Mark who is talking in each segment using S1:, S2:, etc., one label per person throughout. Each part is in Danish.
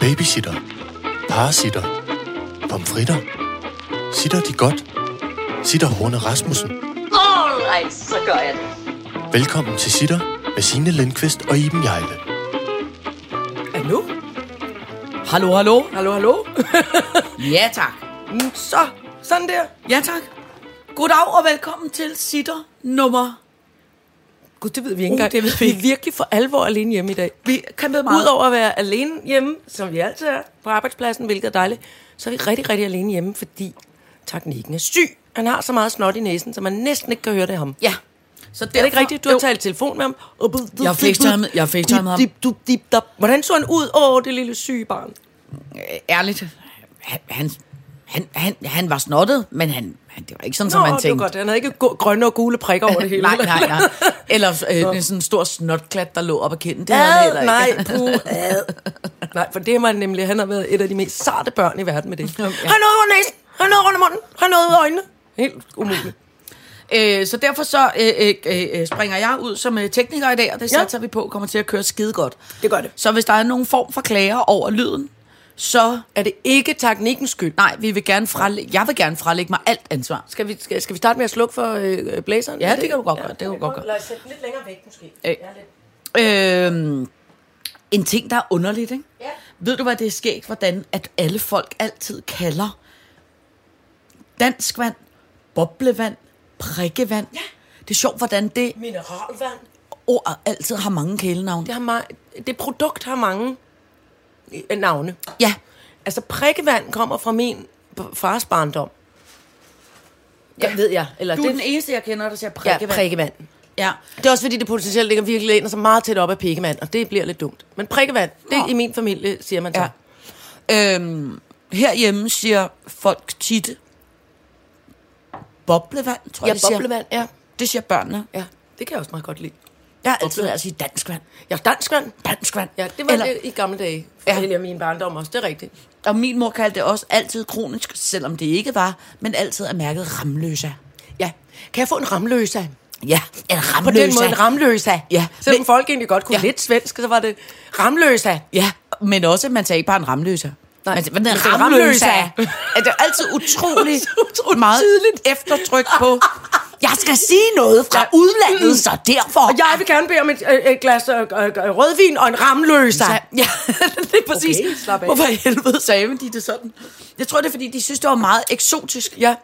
S1: Babysitter. Parasitter. Pomfritter. Sitter de godt? Sitter Horne Rasmussen.
S2: Alright, så gør jeg det.
S1: Velkommen til Sitter med Signe Lindqvist og Iben Jejle.
S3: Hallo?
S4: Hallo, hallo.
S3: Hallo, hallo?
S4: Ja, tak.
S3: Mm, Så, sådan der.
S4: Ja, tak. Goddag og velkommen til sitter nummer...
S3: Gud, det ved vi ikke
S4: Uh,
S3: engang.
S4: det ved vi
S3: vi er
S4: ikke.
S3: virkelig for alvor alene hjemme i dag.
S4: Vi kæmpede meget.
S3: Udover at være alene hjemme, som vi altid er på arbejdspladsen, hvilket er dejligt, så er vi rigtig, rigtig alene hjemme, fordi teknikken er syg. Han har så meget snot i næsen, så man næsten ikke kan høre det af ham.
S4: Ja. Så
S3: Er det ikke rigtigt? Du har talt i telefon med ham.
S4: Jeg har facetimet- jeg har facetimet ham.
S3: Dip, dip, dip, dip, dap. Hvordan så han ud? Åh, det lille syge barn.
S4: Ærligt, han, han, han, han, han var snottet, men han, han, det var ikke sådan,
S3: Nå,
S4: som man
S3: det var
S4: tænkte.
S3: godt. Han havde ikke gå- grønne og gule prikker over det hele.
S4: nej, nej, nej. Eller øh, en sådan en stor snotklat, der lå op ad kinden. Det havde han
S3: Ad,
S4: heller
S3: nej,
S4: ikke.
S3: puh, ad. Nej, for det har man nemlig, han har været et af de mest sarte børn i verden med det.
S4: Ja.
S3: Han har noget over næsen, han har noget rundt om munden, han har noget i øjnene. Helt umuligt.
S4: Øh, så derfor så øh, øh, øh, springer jeg ud som øh, tekniker i dag, og det
S3: Ja.
S4: ja. satser vi på kommer til at køre skide godt.
S3: Det gør det.
S4: Så hvis der er nogen form for klager over lyden, så
S3: Er det ikke teknikkens skyld?
S4: nej, vi vil gerne frelægge, jeg vil gerne frelægge mig alt ansvar.
S3: Skal vi, skal, skal vi starte med at slukke for øh, blæseren?
S4: Ja, det kan du godt gøre, det kan du godt gøre.
S3: Lad os sætte den lidt længere væk, måske.
S4: Øh. Jeg er Øh, en ting, der er underligt, ikke?
S3: Ja.
S4: Ved du, hvad det er sket, hvordan at alle folk altid kalder danskvand, boblevand, prikkevand? Ja. Det er sjovt, hvordan det
S3: Mineralvand.
S4: ord altid har mange kælenavne.
S3: Det, har ma- det produkt har mange øh, navne.
S4: Ja.
S3: Altså, prikkevand kommer fra min b- fars barndom. Ja. Ved jeg. Eller
S4: Du er
S3: det,
S4: den eneste, jeg kender, der siger
S3: ja,
S4: prikkevand.
S3: prikkevand.
S4: Ja.
S3: Det er også fordi, det potentielt ligger virkelig ind og så meget tæt op af pikkemand, og det bliver lidt dumt. Men prikkevand, det er
S4: Nå.
S3: i min familie, siger man så. Ja.
S4: Ja. Øhm, herhjemme siger folk tit boblevand, tror
S3: Ja,
S4: jeg, de
S3: boblevand, ja.
S4: siger. Det siger børnene.
S3: ja. Det kan jeg også meget godt lide.
S4: Jeg har altid lært at sige danskvand.
S3: Ja, danskvand.
S4: Danskvand.
S3: Ja, det var
S4: Eller,
S3: Eller... det i gamle dage.
S4: Ja.
S3: Ja. Eller min barndom også, det er rigtigt.
S4: Og min mor kaldte det også altid kronisk, selvom det ikke var, men altid er mærket ramløsa.
S3: Ja. Kan jeg få en ramløsa?
S4: Ja, en
S3: På
S4: ramløsa.
S3: den måde en ramløsa.
S4: Ja.
S3: Selvom
S4: Men-
S3: folk egentlig godt kunne
S4: Ja.
S3: ja. lidt svensk, så var det ramløsa.
S4: Ja, men også, man sagde ikke bare en ramløsa.
S3: Nej,
S4: Man sagde, hvad er
S3: man sagde
S4: en ramløsa?
S3: ramløsa.
S4: Er det er altid utrolig,
S3: Så utroligt
S4: meget eftertryk på. Jeg skal sige noget fra udlandet, så derfor...
S3: Og jeg vil gerne bede om et, øh, et glas øh, øh, rødvin og en ramløsa.
S4: Så, ja, det er præcis.
S3: Okay, slap af.
S4: Hvorfor i helvede sagde man de det sådan? Jeg tror, det er, fordi de synes, det var meget eksotisk.
S3: Ja.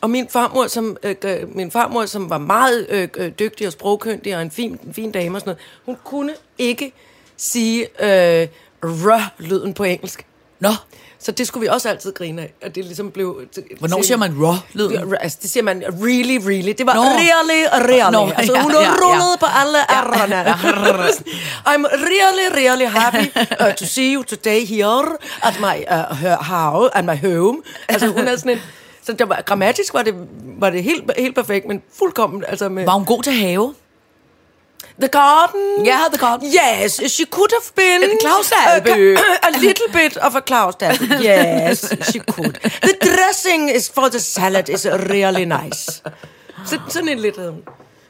S3: Og min farmor, som, øh, øh, min farmor, som var meget øh, øh, dygtig og sprogkyndig og en fin, en fin dame og sådan noget, hun kunne ikke sige øh, r-lyden på engelsk.
S4: Nå,
S3: Så det skulle vi også altid grine af, at det ligesom blev... til-
S4: hvornår
S3: til-
S4: siger man raw-lyden?
S3: Ja, Altså, det siger man really, really. Det var
S4: Nå.
S3: Nå. really, really.
S4: Nå,
S3: Nå, altså,
S4: ja,
S3: hun
S4: ja, ja.
S3: rullede på alle ærerne. I'm really, really happy uh, to see you today here at my uh, her- how, at my home. Altså, hun er sådan en... Så det var, grammatisk var det, var det helt, helt perfekt, men fuldkommen... Altså med
S4: Var hun god til have?
S3: The Garden.
S4: Ja, The Garden.
S3: Yes, she could have been...
S4: En Claus-Dalby.
S3: A, a little bit of a Klaus Dalby. Yes, she could. The dressing is for the salad is really nice. Så, sådan en lidt havde hun.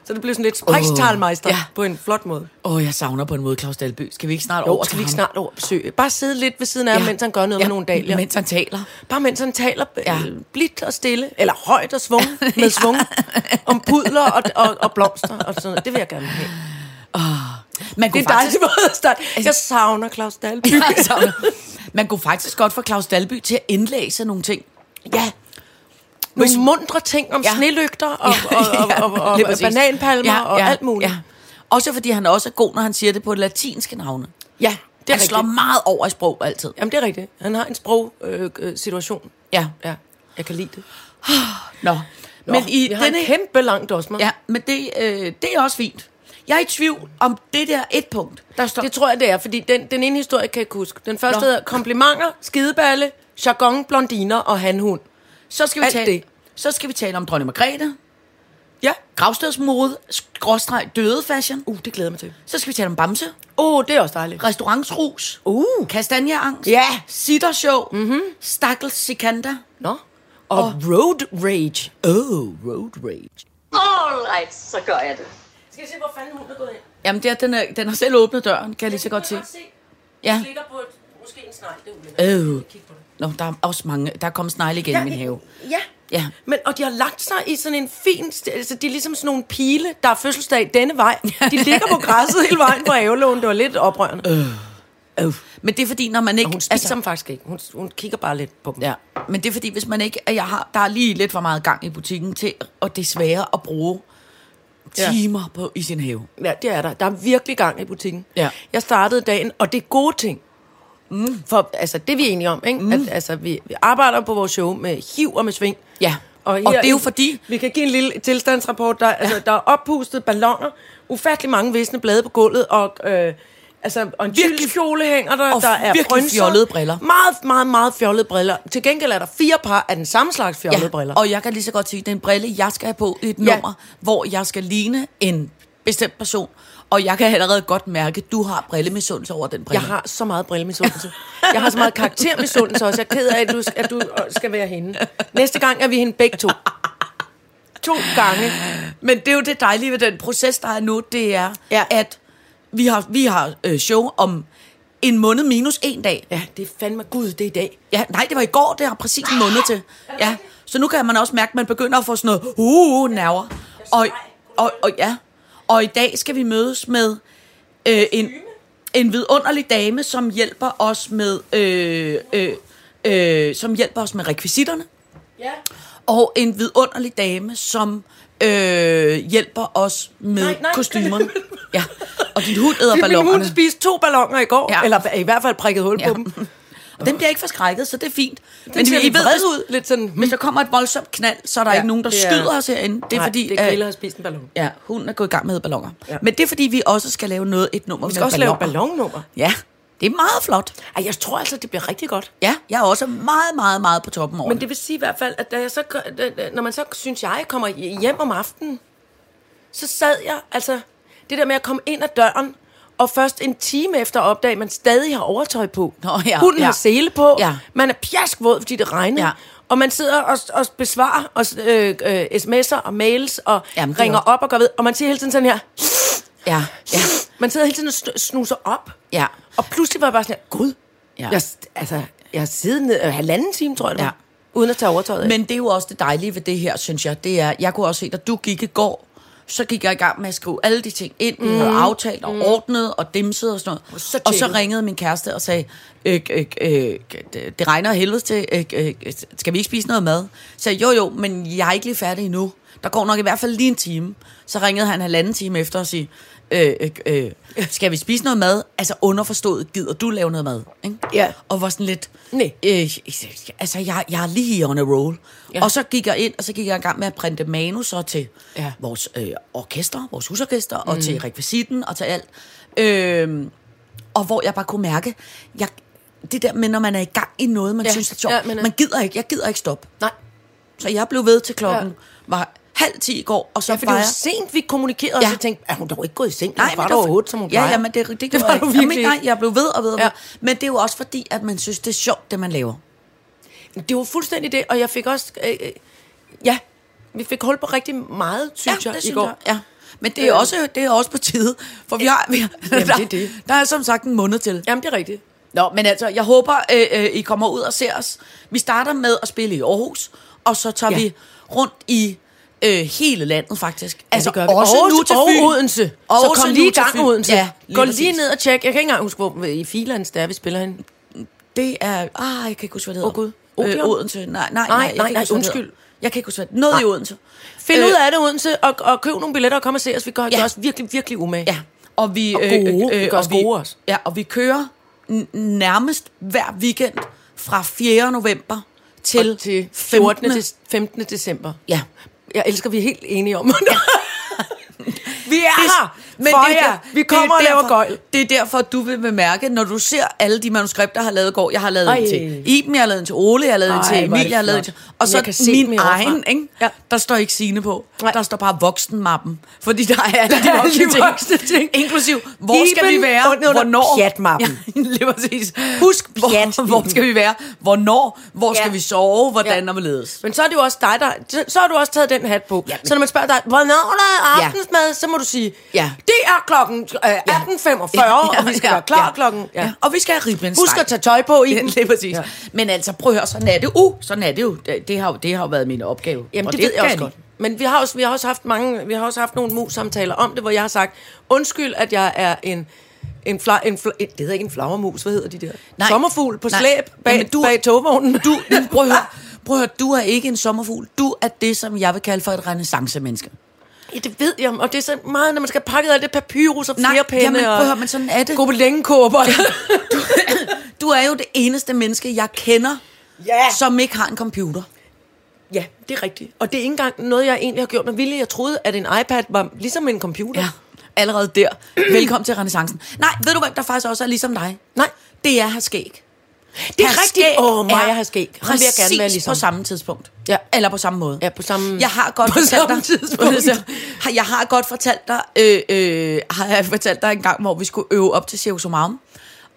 S3: Så det blev sådan lidt spejstalmeister
S4: ja.
S3: Øh, ja. på en flot måde.
S4: Åh, oh, jeg savner på en måde Claus Dalby. Skal vi ikke snart over
S3: Jo,
S4: til
S3: skal vi ikke
S4: ham?
S3: snart over og besøge? Bare sidde lidt ved siden af ham, mens han gør noget med nogle dage.
S4: Mens han taler.
S3: Bare mens han taler øh,
S4: Ja.
S3: blidt og stille, eller højt og svung, med svung, om pudler og, og, og blomster og sådan noget. Det vil jeg gerne have.
S4: Man
S3: Det er
S4: kunne
S3: en dejlig
S4: faktisk...
S3: måde at starte. Jeg savner Claus Dalby.
S4: Jeg savner- Man kunne faktisk godt få Claus Dalby til at indlæse nogle ting.
S3: Ja. Nogle mundre ting om
S4: Ja.
S3: ja. snelygter og, ja. og, og, og, og,
S4: lige
S3: og
S4: præcis.
S3: bananpalmer ja, ja, og alt muligt. Ja,
S4: Også fordi han også er god, når han siger det på latinske navne.
S3: ja det
S4: Det
S3: er
S4: han slår
S3: rigtigt.
S4: meget over i sprog altid.
S3: Jamen, det er rigtigt. Han har en sprogsituation. Øh, øh, situation.
S4: Ja.
S3: ja. Jeg kan lide det.
S4: Nå. Nå. Men i
S3: vi har en
S4: denne
S3: kæmpe lang dosmer.
S4: Ja, men det, øh, det er også fint. Jeg er i tvivl om det der et punkt, der står...
S3: Det tror jeg, det er, fordi den, den ene historie kan jeg ikke huske. Den første
S4: Nå.
S3: Nå. hedder komplimenter, skideballe, jargon, blondiner og hanhund.
S4: så skal vi
S3: alt
S4: tale,
S3: det.
S4: Så skal vi tale om dronning Margrethe,
S3: Ja.
S4: gravstedsmode, skråstreg døde fashion.
S3: Uh, det glæder jeg mig til.
S4: Så skal vi tale om bamse,
S3: Åh, oh, det er også dejligt.
S4: restaurantsrus,
S3: Uh.
S4: kastanjeangst,
S3: Ja.
S4: sittershow, mm-hmm. stakkels sikander.
S3: Nå. Og, og road rage.
S4: Oh, road rage.
S2: Alright, så gør jeg det.
S3: Skal vi se, hvor fanden hun er gået ind?
S4: Jamen, det er, den, er, den har selv åbnet døren, kan jeg lige så godt se.
S3: se.
S4: Ja.
S3: ligger på et Måske en snegl, det er
S4: Øh.
S3: Kig på det.
S4: Nå, der er også mange. Der er kommet snegle igen ja, i min have.
S3: Ja.
S4: Ja.
S3: Men, og de har lagt sig i sådan en fin... st- Altså, de er ligesom sådan nogle pile, der er fødselsdag denne vej. De ligger på græsset hele vejen på havelån. Det var lidt oprørende. Øh.
S4: Men det er fordi, når man ikke...
S3: Og hun spiser altså, dem faktisk ikke. Hun, hun kigger bare lidt på dem.
S4: Ja, men det er fordi, hvis man ikke... at Jeg har, der er lige lidt for meget gang i butikken til, og det er sværere at bruge
S3: Ja.
S4: timer ja. på i sin have.
S3: Ja, det er der. Der er virkelig gang i butikken.
S4: Ja.
S3: Jeg startede dagen, og det er gode ting. Mm. For altså, det er vi enige om, ikke? Mm. At, altså, vi, vi arbejder på vores show med hiv og med sving.
S4: Ja, og, og
S3: her
S4: det er jo
S3: i-
S4: fordi...
S3: Vi kan give en lille tilstandsrapport. Der, ja. altså, der er oppustede balloner, ufattelig mange visne blade på gulvet, og, øh, altså, og en
S4: Virkelig-
S3: kjole hænger der,
S4: og
S3: der er
S4: virkelig
S3: frynser.
S4: fjollede briller.
S3: Meget, meget, meget fjollede briller. Til gengæld er der fire par af den samme slags fjollede
S4: Ja,
S3: briller.
S4: og jeg kan lige så godt sige, at det er en brille, jeg skal have på i et
S3: Ja.
S4: nummer, hvor jeg skal ligne en bestemt person. Og jeg kan allerede godt mærke, at du har brillemissundelse over den brille.
S3: Jeg har så meget brillemissundelse. Jeg har så meget karaktermissundelse også. Jeg er ked af, at du, at du øh, skal være hende. Næste gang er vi hende begge to. To gange.
S4: Men det er jo det dejlige ved den proces, der er nu, det er,
S3: Ja.
S4: ja. at vi har, vi har øh, show om en måned minus en dag.
S3: Ja, det er fandme gud, det er i dag.
S4: Ja, nej, det var i går, det har præcis en måned til. Ja, så nu kan man også mærke, at man begynder at få sådan noget uh, uh, nerver. Og, og, og, ja. og i dag skal vi mødes med øh, en, en vidunderlig dame, som hjælper os med øh, øh, øh, som hjælper os med rekvisitterne.
S3: Ja.
S4: Og en vidunderlig dame, som øh, hjælper os med
S3: Nej, nej.
S4: kostymerne. Ja, og din hund æder
S3: Min hund
S4: ballongerne.
S3: spiste to ballonger i går. Ja.
S4: Ja.
S3: Eller i hvert fald prikket hul ja.
S4: Ja.
S3: på dem. Den
S4: Og den bliver ikke forskrækket, så det er fint. Den
S3: ser lidt vred ud. Lidt sådan,
S4: Hvis der kommer et voldsomt knald, så er der
S3: Ja,
S4: ja, ikke nogen, der
S3: det er-
S4: skyder os herinde. Det er
S3: nej,
S4: fordi,
S3: det er Kjell, der
S4: øh,
S3: har spist en ballon.
S4: ja, hunden er gået i gang med at ballonger.
S3: Ja.
S4: Ja. Men det er fordi, vi også skal lave noget, et nummer
S3: Vi skal også lave et ballonnummer.
S4: Ja, det er meget flot.
S3: Ej, jeg tror altså, det bliver rigtig godt.
S4: Ja, jeg er også meget, meget, meget på toppen over
S3: Men det vil sige i hvert fald, at da jeg så, da- da- når man så, synes jeg, kommer hjem om aftenen, så sad jeg, altså, det der med at komme ind ad døren, og først en time efter opdag, man stadig har overtøj på.
S4: Nå, ja,
S3: Hunden
S4: ja.
S3: har sele på.
S4: Ja.
S3: Man er pjaskvåd, fordi det regner.
S4: Ja.
S3: Og man sidder og, og besvarer og, øh, øh, sms'er og mails, og
S4: Jamen, det er
S3: ringer
S4: også-
S3: op og går ved. Og man siger hele tiden sådan her.
S4: Ja, ja,
S3: Man sidder hele tiden og st- snuser op.
S4: ja.
S3: Og pludselig var jeg bare sådan her, gud.
S4: Ja.
S3: Jeg, altså, jeg har siddet ned, øh, halvanden time, tror jeg det var,
S4: Ja.
S3: uden at tage overtøjet af.
S4: Men det er jo også det dejlige ved det her, synes jeg. Det er, jeg kunne også se, at du gik i går, så gik jeg i gang med at skrive alle de ting ind, vi havde aftalt og ordnet og dimset og sådan noget.
S3: Mm. så
S4: og så
S3: tjekket.
S4: ringede min kæreste og sagde, øh, øh, øh, det- det regner af helvede til, øh, øh, skal vi ikke spise noget mad? Så jeg, jo jo, men jeg er ikke lige færdig endnu. Der går nok i hvert fald lige en time. Så ringede han halvanden time efter og sagde, øh, øh, øh, skal vi spise noget mad? Altså underforstået, gider du lave noget mad? Ikke?
S3: Ja.
S4: Og var sådan lidt,
S3: Nej.
S4: Øh, altså, jeg, jeg er lige on a roll.
S3: Ja.
S4: Ja. Og så gik jeg ind, og så gik jeg i gang med at printe manuser til
S3: Ja.
S4: ja. vores øh, orkester, vores husorkester, mm. og til rekvisitten, og til alt. Øh, og hvor jeg bare kunne mærke, jeg, det der med, når man er i gang i noget, man
S3: Ja.
S4: ja. synes er sjovt,
S3: Ja,
S4: ja,
S3: men, øh,
S4: man gider ikke, jeg gider ikke stoppe.
S3: Nej.
S4: Så jeg blev ved til klokken
S3: Ja.
S4: ja. var halv ti i går, og så
S3: Ja, for det var
S4: jeg...
S3: jo sent, vi kommunikerede, ja.
S4: Ja.
S3: og så tænkte, er hun dog ikke gået i seng?
S4: Nej,
S3: Nej,
S4: men
S3: var der
S4: det var
S3: overhovedet, som hun
S4: ja,
S3: plejer.
S4: ja, men det, det, det,
S3: det var du virkelig
S4: Jamen, nej, jeg blev ved og ved og ved.
S3: Ja.
S4: Ja. Men det er jo også fordi, at man synes, det er sjovt, det man laver.
S3: Det var fuldstændig det, og jeg fik også... Øh, øh, ja, vi fik hul på rigtig meget, synes jeg,
S4: det
S3: i går. Øh.
S4: Jeg. Ja. Men det er, også, øh, det er også på tide, for vi har, vi har
S3: Jamen,
S4: der,
S3: det er det.
S4: der er som sagt en måned til.
S3: Jamen, det er rigtigt.
S4: Nå, men altså, jeg håber, øh, øh, I kommer ud og ser os. Vi starter med at spille i Aarhus, og så tager
S3: Ja.
S4: ja. vi rundt i øh, hele landet, faktisk. Ja,
S3: Altså, det gør vi. Også Aarhus, nu til og
S4: Fyn.
S3: Odense.
S4: Også
S3: så kom
S4: nu
S3: lige i
S4: til
S3: gang
S4: Fyn.
S3: med Odense.
S4: Ja,
S3: Gå
S4: præcis.
S3: lige ned og tjek. Jeg kan ikke engang huske, hvor i Filands det er, vi spiller hende.
S4: Det er... Ah, jeg kan ikke huske, hvad det hedder.
S3: Åh, Gud.
S4: Øh,
S3: Odeon?
S4: Odense. Nej, nej,
S3: Nej,
S4: nej. jeg kan
S3: nej,
S4: ikke
S3: nej,
S4: huske, hvad det
S3: undskyld.
S4: hedder. Jeg kan ikke huske, hvad det Noget
S3: Nej.
S4: i Odense.
S3: Find
S4: Øh,
S3: ud af det, Odense, og, og køb nogle billetter og kom og se os. Vi gør
S4: Ja.
S3: ja. os virkelig, virkelig umage.
S4: Ja, og vi...
S3: Og gode. Vi gør os gode også.
S4: Ja, og vi kører n- nærmest hver weekend fra 4. november til,
S3: Til, til 14.
S4: 15..
S3: Til 15. december.
S4: Ja.
S3: Jeg elsker, vi er helt enige om det. vi er
S4: Det-
S3: her men for
S4: det er
S3: jer.
S4: der-
S3: Vi kommer og
S4: det er
S3: laver
S4: derfor-
S3: gøjl.
S4: Det er derfor, du vil bemærke, når du ser alle de manuskripter, jeg har lavet i går. Jeg har lavet
S3: Ej.
S4: en til Iben, jeg har lavet en til Ole, jeg har lavet en
S3: Ej,
S4: til
S3: hvor er det
S4: Emilie, jeg har lavet en til...
S3: flot.
S4: Og så
S3: Jeg kan se dem
S4: min
S3: heroppefra.
S4: egen, ikke?
S3: Ja.
S4: der står ikke sine på.
S3: Nej.
S4: Der står bare voksenmappen. Fordi der er alle
S3: Der er
S4: de voksne,
S3: alle de voksne ting.
S4: Inklusiv, hvor skal
S3: Iben
S4: vi være?
S3: under- under
S4: hvornår?
S3: pjatmappen.
S4: Ja, lige præcis.
S3: Husk pjat,
S4: hvor, hvor
S3: Iben.
S4: skal vi være? Hvornår? Hvor
S3: Ja.
S4: skal vi sove? Hvordan
S3: Ja.
S4: og hvorledes?
S3: Men så er det jo også dig, der... Så, så har du også taget den hat på. Ja,
S4: Ja,
S3: men...
S4: men-
S3: Så når man spørger dig, hvornår der er aftensmad, ja. så må du sige,
S4: Ja.
S3: det er klokken øh, 18.45, ja.
S4: Ja,
S3: og vi skal
S4: ja,
S3: være klar
S4: ja.
S3: klokken... Ja.
S4: Ja. Og vi skal have ribbensteg.
S3: Husk at tage tøj på i
S4: Ja,
S3: den.
S4: lige præcis.
S3: Ja.
S4: Ja. Men altså, prøv at høre, sådan er det jo. Sådan er det jo. Det, det, har, jo- det har jo været min opgave.
S3: Jamen,
S4: Og
S3: det, det ved jeg også
S4: kan
S3: godt. Men vi har også, vi har også haft mange, vi har også haft nogle mus-samtaler om det, hvor jeg har sagt, undskyld, at jeg er en, en, fla, en, fla, en det hedder ikke en flagermus, hvad hedder de der?
S4: Nej.
S3: Sommerfugl på
S4: Nej.
S3: slæb bag,
S4: Jamen,
S3: du,
S4: du-
S3: bag togvognen.
S4: Du, nu, prøv at høre. Prøv at høre, du er ikke en sommerfugl. Du er det, som jeg vil kalde for et renaissance-menneske.
S3: Ja, det ved jeg, og det er så meget, når man skal pakke af det papyrus og
S4: Nej,
S3: flerpinde
S4: jamen, prøv at høre,
S3: og
S4: men sådan er det.
S3: gruppe længekåber.
S4: Du er jo det eneste menneske, jeg kender,
S3: Ja.
S4: som ikke har en computer.
S3: ja, det er rigtigt. Og det er ikke engang noget, jeg egentlig har gjort med vilje. Jeg troede, at en iPad var ligesom en computer.
S4: Ja, allerede der. Velkommen til renaissancen. Nej, ved du hvem der faktisk også er ligesom dig?
S3: Nej.
S4: Det er her skæg.
S3: Det er rigtigt. Åh, oh, Maja
S4: er
S3: har skæg. Han vil jeg
S4: Præcis
S3: gerne være ligesom.
S4: på samme tidspunkt.
S3: Ja.
S4: Eller på samme måde.
S3: Ja, på samme-
S4: Jeg har godt
S3: på
S4: fortalt
S3: samme
S4: dig.
S3: tidspunkt.
S4: Har- Jeg har godt fortalt dig, øh, øh, har jeg fortalt dig en gang, hvor vi skulle øve op til Cirkusomarum,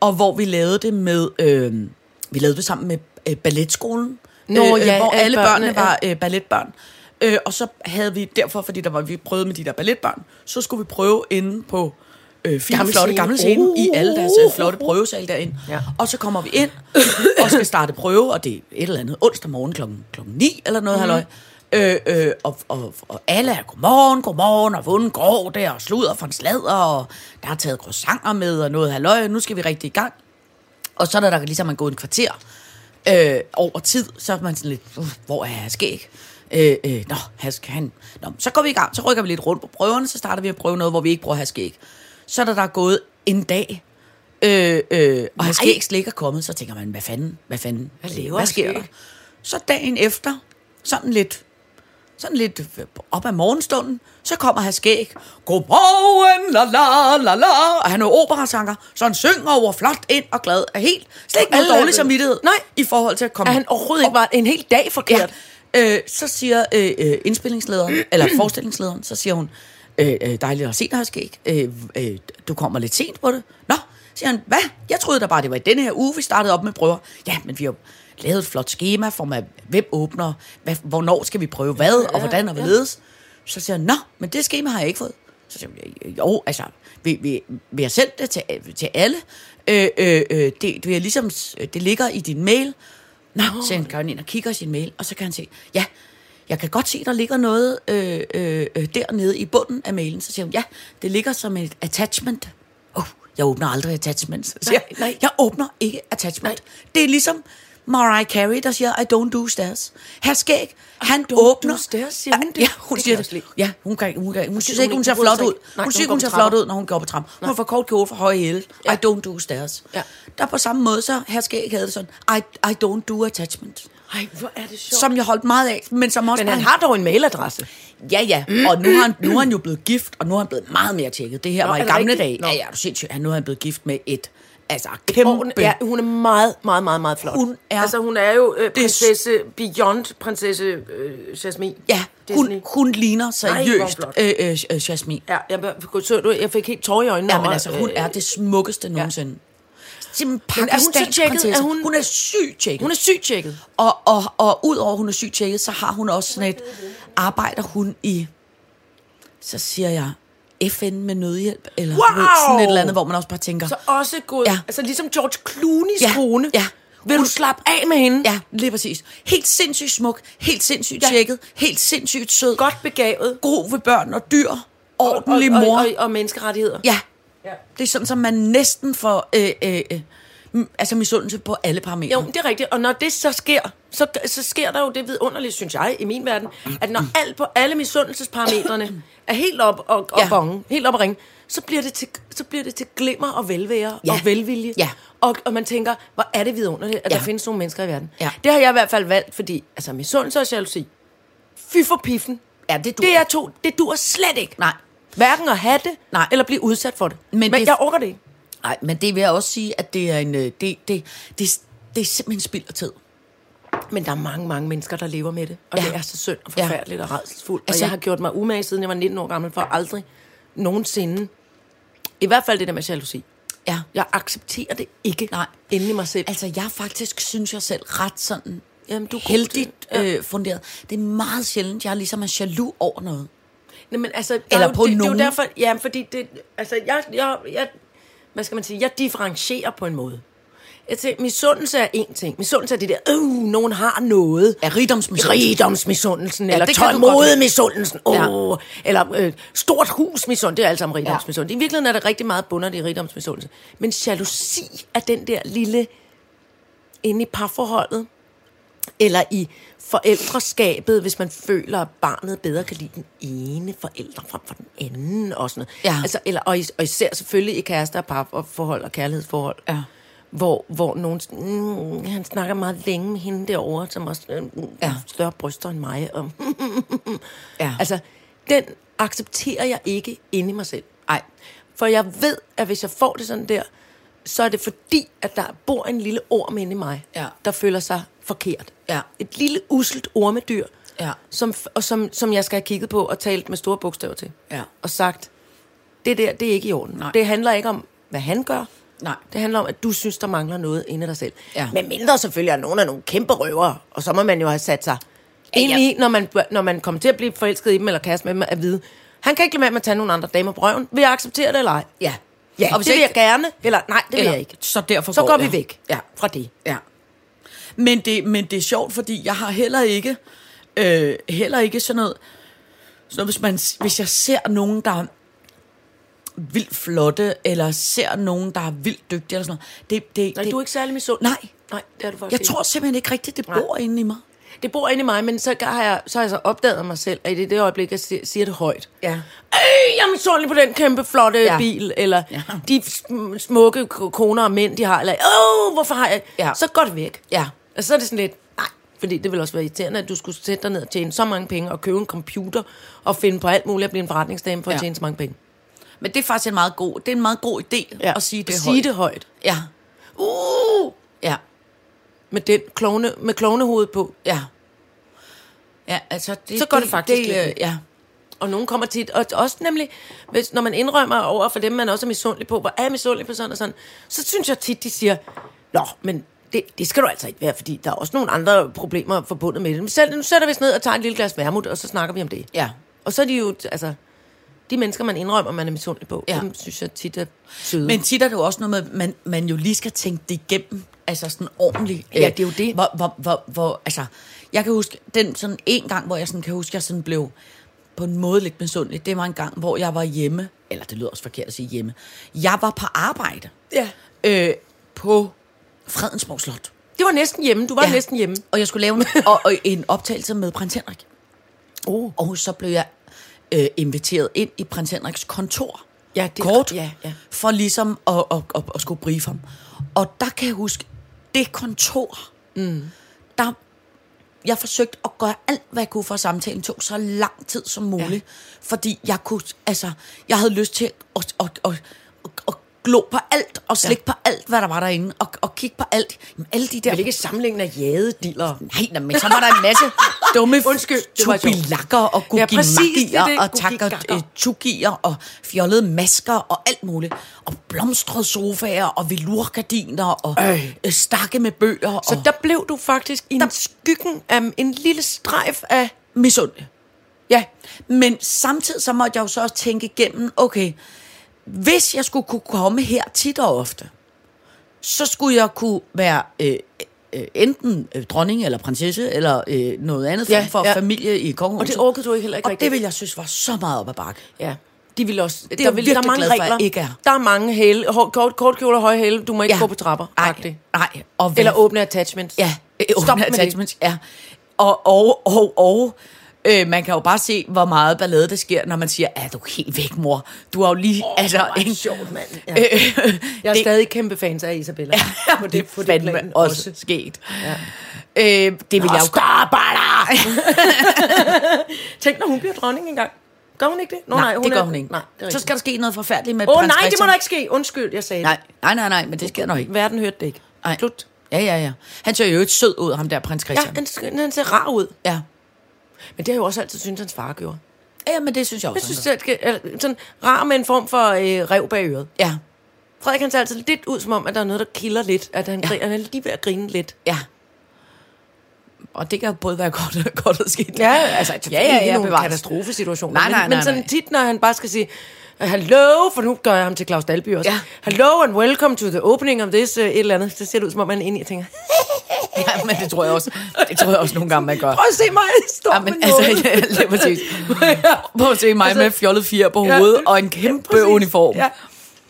S4: og hvor vi lavede det med, øh, vi lavede det sammen med øh, balletskolen,
S3: Nå,
S4: øh, øh,
S3: ja,
S4: hvor
S3: alle
S4: alle
S3: børnene,
S4: børnene var øh, balletbørn. Øh, og så havde vi derfor, fordi der var, vi prøvede med de der balletbørn, så skulle vi prøve inde på øh, fine, gamle
S3: Gamle
S4: flotte
S3: scene.
S4: gamle scene uh, i alle deres
S3: Uh.
S4: øh, flotte prøvesal derinde.
S3: Ja.
S4: Ja. Og så kommer vi ind og skal starte prøve, og det er et eller andet onsdag morgen klokken, klokken 9 eller noget, mm. halløj.
S3: Mhm.
S4: Øh, øh, og, og, og alle er godmorgen, godmorgen, og hvordan går det, og sludder for en sladder, og der er taget croissanter med, og noget halløj, nu skal vi rigtig i gang. Og så er der ligesom er gået en kvarter øh, over tid, så er man sådan lidt, "Uh, hvor er jeg skæg? Øh, øh, nå, her skal han. Nå, så går vi i gang, så rykker vi lidt rundt på prøverne, så starter vi at prøve noget, hvor vi ikke bruger her skæg. Så er der, der er gået en dag, øh, øh, og her skæg slet ikke er kommet, så tænker man, hvad fanden, hvad fanden, hvad,
S3: lever
S4: hvad
S3: Herr
S4: sker
S3: Skæg?
S4: der? Så dagen efter, sådan lidt sådan lidt op ad morgenstunden, så kommer han skæg. Godmorgen, la la la la. Og han er operasanger, så han synger over flot ind og glad er helt. Slet ikke noget
S3: Alle-
S4: dårlig samvittighed.
S3: Nej.
S4: I forhold til at komme.
S3: At han overhovedet ikke var en hel dag
S4: Ja.
S3: forkert.
S4: Øh, så siger øh, øh, indspillingslederen, eller forestillingslederen, så siger hun, øh, øh, dejligt at se dig, her skæg. Øh, øh, du kommer lidt sent på det. Nå, siger han, hvad? Jeg troede da bare, det var i denne her uge, vi startede op med prøver. Ja, men vi har lavet et flot schema for, med, hvem åbner, hvad, hvornår skal vi prøve hvad, og hvordan og hvorledes. Så siger han, nå, men det schema har jeg ikke fået. Så siger jeg, jo, altså, vi, vi, vi har sendt det til, til alle. Øh, øh, øh, det, vi har ligesom, det ligger i din mail. Nå, så han går han ind og kigger i sin mail, og så kan han se, ja, jeg kan godt se, der ligger noget øh, øh, øh, dernede i bunden af mailen. Så siger han, ja, det ligger som et attachment. Oh, jeg åbner aldrig attachments. Så siger,
S3: nej.
S4: nej. Jeg åbner ikke attachment. Nej. Det er ligesom Mariah Carey, der siger, I don't do stairs. Her skæg, han
S3: don't
S4: åbner.
S3: do stairs, siger hun det?
S4: Ja, hun
S3: Det kan
S4: siger
S3: jeg også
S4: det.
S3: lide.
S4: Ja, hun, kan, hun, kan, hun synes
S3: hun
S4: ikke, hun
S3: ikke-
S4: ser
S3: hun
S4: flot
S3: bryder sig
S4: ud.
S3: ikke. Nej,
S4: Hun
S3: når hun
S4: synes ikke,
S3: går
S4: hun
S3: på
S4: ser flot
S3: trapper.
S4: ud, når hun går på trampen. Hun får kort kjole for høje hæle. I don't do stairs.
S3: Ja.
S4: Der på samme måde, så her skæg havde det sådan, I, I don't do attachment.
S3: Ej, hvor er det sjovt.
S4: Som jeg holdt meget af, men som også
S3: Men han
S4: bare-
S3: har dog en mailadresse.
S4: Ja, ja. Og nu har han, nu er han jo blevet gift, og nu er han blevet meget mere tjekket. Det her
S3: Nå,
S4: var i
S3: er det
S4: gamle
S3: rigtigt?
S4: dage.
S3: Nå.
S4: Ja, ja, du sindssygt. Han, nu er han blevet gift med et, altså kæmpe...
S3: Ja, hun er meget, meget, meget, meget flot.
S4: Hun er-
S3: altså, hun er jo øh,
S4: er
S3: prinsesse, beyond prinsesse øh, Jasmine.
S4: Ja, hun, hun ligner seriøst
S3: flot.
S4: øh, øh, øh, Jasmine.
S3: Ja, jeg, jeg, så, du, jeg fik helt tårer i øjnene.
S4: Ja, men
S3: over,
S4: altså, hun
S3: øh,
S4: er det smukkeste nogensinde. Simpelthen
S3: Men er hun så
S4: pakistansk
S3: tjekket?
S4: prinsesse.
S3: Er hun-
S4: hun er sygt tjekket.
S3: øh, Hun er sygt tjekket.
S4: Og, og, og udover at hun er sygt tjekket, så har hun også sådan et, arbejder hun i, så siger jeg, FN med nødhjælp, eller du ved, sådan et
S3: Wow!
S4: eller andet, hvor man også bare tænker,
S3: Så også god.
S4: Ja.
S3: Altså, ligesom George Clooney's
S4: Ja,
S3: kone.
S4: ja.
S3: Vil du
S4: Hun-
S3: slappe af med hende?
S4: ja, lige præcis. Helt sindssygt smuk, helt sindssygt
S3: Ja.
S4: tjekket, helt sindssygt sød,
S3: Godt begavet.
S4: god ved børn og dyr, ordentlig
S3: og,
S4: mor.
S3: Og, og, og menneskerettigheder.
S4: Ja.
S3: Ja.
S4: ja. Det er sådan, som man næsten får øh, øh, øh, m- altså misundelse på alle parametre.
S3: Jo, det er rigtigt. Og når det så sker, så, så sker der jo det vidunderlige, synes jeg, i min verden, at når alt på alle misundelsesparametrene er helt op og, og ja.
S4: Ja.
S3: bonge, helt op og ringe, så bliver det til, så bliver det til glimmer og velvære
S4: Ja.
S3: ja. og velvilje.
S4: Ja.
S3: Og, og man tænker, hvor er det vidunderligt, at ja.
S4: Ja.
S3: der findes nogle mennesker i verden.
S4: Ja.
S3: Det har jeg i hvert fald valgt, fordi altså, misundelse og jalousi, fy for piffen,
S4: Ja, det duer.
S3: det er to, det dur slet ikke.
S4: Nej.
S3: Hverken at have det,
S4: Nej.
S3: eller blive udsat for det.
S4: Men
S3: Men, Men
S4: det-
S3: jeg orker det ikke.
S4: Nej, men det vil jeg også sige, at det er en... øh, Det, det, det, det, det er simpelthen spild af tid.
S3: Men der er mange, mange mennesker, der lever med det. Og ja.
S4: Ja.
S3: det er så synd og
S4: Ja.
S3: forfærdeligt ja. og redselsfuldt. Altså,
S4: Altså-
S3: og jeg har gjort mig umage, siden jeg var 19 år gammel, for aldrig nogensinde. I hvert fald det der med jalousi.
S4: Ja.
S3: Jeg accepterer det ikke
S4: Nej.
S3: inde i mig selv. Altså,
S4: Altså, jeg er faktisk, synes jeg selv, ret sådan
S3: Jamen, du er god til-
S4: heldigt øh, funderet. Det er meget sjældent, jeg ligesom er jaloux over noget.
S3: Nej, men altså, der
S4: Eller
S3: er jo,
S4: på
S3: det,
S4: nogen.
S3: Det er jo derfor, ja, fordi det, altså, jeg, jeg, jeg, hvad skal man sige, jeg differencierer på en måde. Jeg tænker, misundelse er en ting. Misundelse er det der, øh, nogen har noget.
S4: Ja, rigdomsmisundelse.
S3: Rigdomsmisundelsen, ja, eller
S4: det kan du godt
S3: tålmodigmisundelsen,
S4: lide. Ja.
S3: åh, eller øh, stort husmisundelse, det er alt sammen rigdomsmisundelse. Ja. I virkeligheden er der rigtig meget bundet i rigdomsmisundelse. Men jalousi er den der lille, inde i parforholdet, eller i forældreskabet, hvis man føler, at barnet bedre kan lide den ene forælder frem for den anden, og sådan noget.
S4: Ja.
S3: Altså, eller, og, is- og især selvfølgelig i kærester og parforhold og kærlighedsforhold.
S4: Ja.
S3: Hvor, hvor nogen... sådan, Mm, han snakker meget længe med hende derovre, som også øh,
S4: Ja.
S3: ja. større bryster end mig. Og,
S4: Ja. Altså,
S3: Altså, den accepterer jeg ikke inde i mig selv.
S4: Ej.
S3: For jeg ved, at hvis jeg får det sådan der, så er det fordi, at der bor en lille orm inde i mig,
S4: Ja.
S3: der føler sig forkert.
S4: Ja.
S3: Et lille uselt ormedyr,
S4: Ja.
S3: som, f- og som, som jeg skal have kigget på og talt med store bogstaver til.
S4: Ja.
S3: Og sagt, det der, det er ikke i orden.
S4: Nej.
S3: Det handler ikke om, hvad han gør.
S4: Nej.
S3: Det handler om, at du synes, der mangler noget inde i dig selv.
S4: Ja.
S3: Men mindre selvfølgelig er nogen af nogle kæmpe røver, og så må man jo have sat sig
S4: Ja,
S3: ind
S4: ja.
S3: i, når man, når man kommer til at blive forelsket i dem, eller kæreste med dem, at vide, han kan ikke lade være med at tage nogle andre damer på røven. Vil jeg acceptere det eller ej?
S4: ja.
S3: Ja, og
S4: hvis
S3: det vil jeg gerne. Eller nej, det vil
S4: Eller,
S3: jeg ikke.
S4: Så derfor
S3: Så
S4: går,
S3: går
S4: jeg.
S3: vi væk
S4: Ja.
S3: fra det.
S4: Ja. Men det, men det er sjovt, fordi jeg har heller ikke, øh, heller ikke sådan noget, sådan noget, hvis, man, hvis jeg ser nogen, der er vildt flotte, eller ser nogen, der er vildt dygtige, eller sådan noget. Det, det,
S3: Nej,
S4: det,
S3: du er ikke særlig misundelig.
S4: Nej,
S3: Nej, det er du faktisk
S4: jeg
S3: ikke.
S4: tror simpelthen ikke rigtigt, det bor inde i mig.
S3: Det bor inde i mig, men så har jeg så, har jeg så opdaget mig selv, at i det, det øjeblik, jeg si- siger det højt.
S4: Ja.
S3: Øh, jeg er misundelig på den kæmpe flotte
S4: Ja.
S3: ja. bil, eller
S4: Ja.
S3: ja. de sm- smukke k- koner og mænd, de har, eller åh, hvorfor har jeg...
S4: Ja.
S3: Ja. Så går det væk.
S4: Ja.
S3: Og så er det sådan lidt, nej, fordi det ville også være irriterende, at du skulle sætte dig ned og tjene så mange penge, og købe en computer, og finde på alt muligt at blive en forretningsdame for ja.
S4: Ja.
S3: at tjene så mange penge.
S4: Men det er faktisk en meget god, det er en meget god idé at sige det
S3: Sige
S4: højt.
S3: det højt.
S4: Ja,
S3: Uh!
S4: ja,
S3: Med, den klovne, med klovnehovedet på.
S4: ja. Ja, altså det,
S3: Så går det faktisk lidt
S4: øh,
S3: ned.
S4: ja.
S3: Og nogen kommer tit, og også nemlig, hvis, når man indrømmer over for dem, man også er misundelig på, hvor er jeg misundelig på sådan og sådan, så synes jeg tit, de siger, nå, men det, det skal du altså ikke være, fordi der er også nogle andre problemer forbundet med det. Men selv, nu sætter vi os ned og tager en lille glas vermut, og så snakker vi om det.
S4: Ja.
S3: Og så er de jo, altså, de mennesker, man indrømmer, man er misundelig på,
S4: Ja.
S3: ja. dem synes jeg tit er søde.
S4: Men tit er det jo også noget med, at man, man jo lige skal tænke det igennem. Altså sådan ordentligt.
S3: Ja, det er jo det.
S4: Hvor, hvor, hvor, hvor, altså, jeg kan huske, den sådan en gang, hvor jeg sådan kan huske, jeg sådan blev på en måde lidt misundelig, det var en gang, hvor jeg var hjemme, eller det lyder også forkert at sige hjemme, jeg var på arbejde
S3: ja.
S4: øh, på Fredensborg Slot.
S3: Det var næsten hjemme, du var
S4: Ja.
S3: ja. næsten hjemme.
S4: Og jeg skulle lave en, og, og en optagelse med prins Henrik.
S3: Oh.
S4: Og så blev jeg øh, inviteret ind i prins Henriks kontor.
S3: Ja, det-
S4: kort,
S3: ja, ja.
S4: for ligesom at, at, at, at skulle briefe ham. Og der kan jeg huske, det kontor, mm. der jeg forsøgte at gøre alt, hvad jeg kunne for at samtalen tog så lang tid som muligt. Ja. Fordi jeg kunne, altså, jeg havde lyst til at, at, at, at, at glo på alt, og slikke ja. på alt, hvad der var derinde, og, og kigge på alt. Jamen, alle de der
S3: Jeg vil ikke sammenligne af jadediller.
S4: Nej, nå, men så var der en masse dumme
S3: Undskyld, det var sjovt.
S4: tubilakker og
S3: Ja, præcis,
S4: gugimagier
S3: det er det,
S4: og takker
S3: gugigakker.
S4: øh, tugier og fjollede masker og alt muligt. Og blomstrede sofaer og velurgardiner og
S3: Øj.
S4: øh, stakke med bøger
S3: Så
S4: og
S3: der blev du faktisk i en skyggen af en lille strejf af...
S4: misundelig.
S3: Ja,
S4: Men samtidig så måtte jeg jo så også tænke igennem, okay, hvis jeg skulle kunne komme her tit og ofte, så skulle jeg kunne være øh, øh, enten øh, dronning eller prinsesse, eller øh, noget andet
S3: Ja,
S4: form for
S3: ja.
S4: familie i kongehuset.
S3: Og det orkede du ikke heller ikke
S4: Og
S3: rigtig.
S4: det ville jeg synes var så meget op ad bakke.
S3: Ja. De vil også...
S4: er jeg virkelig glad for, at jeg ikke er.
S3: Der er mange hæle. Hår, kort, kort kjole, høje hæle. Du må ikke ja. gå på trapper.
S4: Nej,
S3: agtigt.
S4: nej. Og
S3: Eller
S4: vel-
S3: åbne attachments.
S4: Ja, øh,
S3: Stop
S4: åbne
S3: med det.
S4: attachments. Ja. Og, og, og, og øh, man kan jo bare se, hvor meget ballade der sker, når man siger, ja, du er helt væk, mor. Du har jo lige... Oh, altså,
S3: hvor er det
S4: ikke?
S3: sjovt, mand. Ja.
S4: Øh,
S3: Jeg er
S4: det-
S3: det, stadig kæmpe fans af Isabella.
S4: Ja, på det, på det fandme
S3: plan
S4: også, også sket. Ja. Øh, det vil jeg jo... Stop,
S3: Tænk, når hun bliver dronning engang. Gør hun ikke det? Nå, nej,
S4: Nej,
S3: hun
S4: det
S3: er,
S4: gør hun ikke.
S3: Nej, det er
S4: så skal der ske noget forfærdeligt med
S3: Åh, oh,
S4: prins
S3: nej, det må
S4: Christian.
S3: der ikke ske. Undskyld, jeg sagde
S4: Nej, nej, nej, nej, men det sker nok
S3: det.
S4: ikke.
S3: Verden hørte det ikke.
S4: Nej.
S3: Slut.
S4: Ja, ja, ja. Han ser jo et sød ud, ham der prins
S3: Ja,
S4: Christian.
S3: han, sk- han ser rar ud.
S4: Ja,
S3: Men det har jeg jo også altid syntes, hans far gjorde.
S4: ja. ja men det synes jeg også.
S3: Jeg synes, det er sådan rar med en form for øh, rev bag øret.
S4: Ja,
S3: Frederik, han ser altid lidt ud, som om, at der er noget, der kilder lidt. At han, ja. han er lige ved at grine lidt.
S4: ja. Og det kan jo både være godt og, godt og skidt.
S3: Ja, altså det
S4: Ja, ja, ja,
S3: ikke nogen
S4: bevares.
S3: katastrofesituation.
S4: Nej, nej,
S3: men,
S4: nej,
S3: men sådan
S4: nej.
S3: tit, når han bare skal sige, Hello, for nu gør jeg ham til Claus Dalby også.
S4: Ja.
S3: Hello and welcome to the opening of this, uh, et eller andet. Det ser det ud, som om man er inde i og tænker,
S4: ja, men det tror jeg også. Det tror jeg også nogle gange, man gør.
S3: prøv at se mig, jeg står
S4: Ja,
S3: ja,
S4: men
S3: med
S4: altså,
S3: noget.
S4: ja, lige præcis. Prøv at se mig altså, med fjollet fire på
S3: Ja.
S4: hovedet ja, og en kæmpe ja,
S3: Præcis.
S4: uniform.
S3: Ja.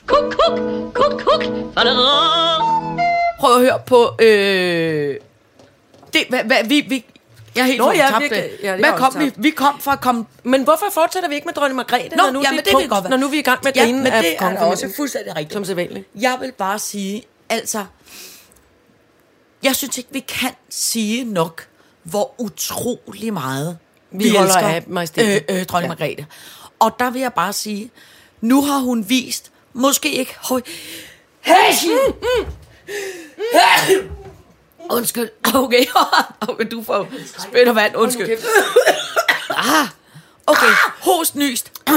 S2: Kuk, kuk, kuk, kuk. Fadadadad.
S4: Prøv at høre på... Øh, det, hvad, hvad, vi, vi, jeg er helt
S3: Nå,
S4: Nå,
S3: ja,
S4: ja, tabt
S3: vi-
S4: det.
S3: ja, jeg er
S4: Hvad
S3: også
S4: kom vi?
S3: tabt.
S4: Vi kom fra at komme...
S3: Men hvorfor fortsætter vi ikke med dronning Margrethe,
S4: Nå,
S3: når, nu
S4: ja, men
S3: det
S4: det
S3: er
S4: kan
S3: et
S4: godt
S3: punkt,
S4: være.
S3: når nu vi er i gang med
S4: ja,
S3: grinen
S4: men
S3: af
S4: det er da
S3: kongefamilien?
S4: også fuldstændig rigtigt.
S3: Som sædvanligt.
S4: Jeg vil bare sige, altså, jeg synes ikke, vi kan sige nok, hvor utrolig meget vi,
S3: holder
S4: elsker,
S3: af majestæten.
S4: øh, øh, dronning
S3: Ja.
S4: ja. Margrethe. Og der vil jeg bare sige, nu har hun vist, måske ikke... Høj, hey! Mm, mm. Undskyld. Okay. okay, du får spændt og vand. Undskyld. Ah. Okay, host Ah, nyst.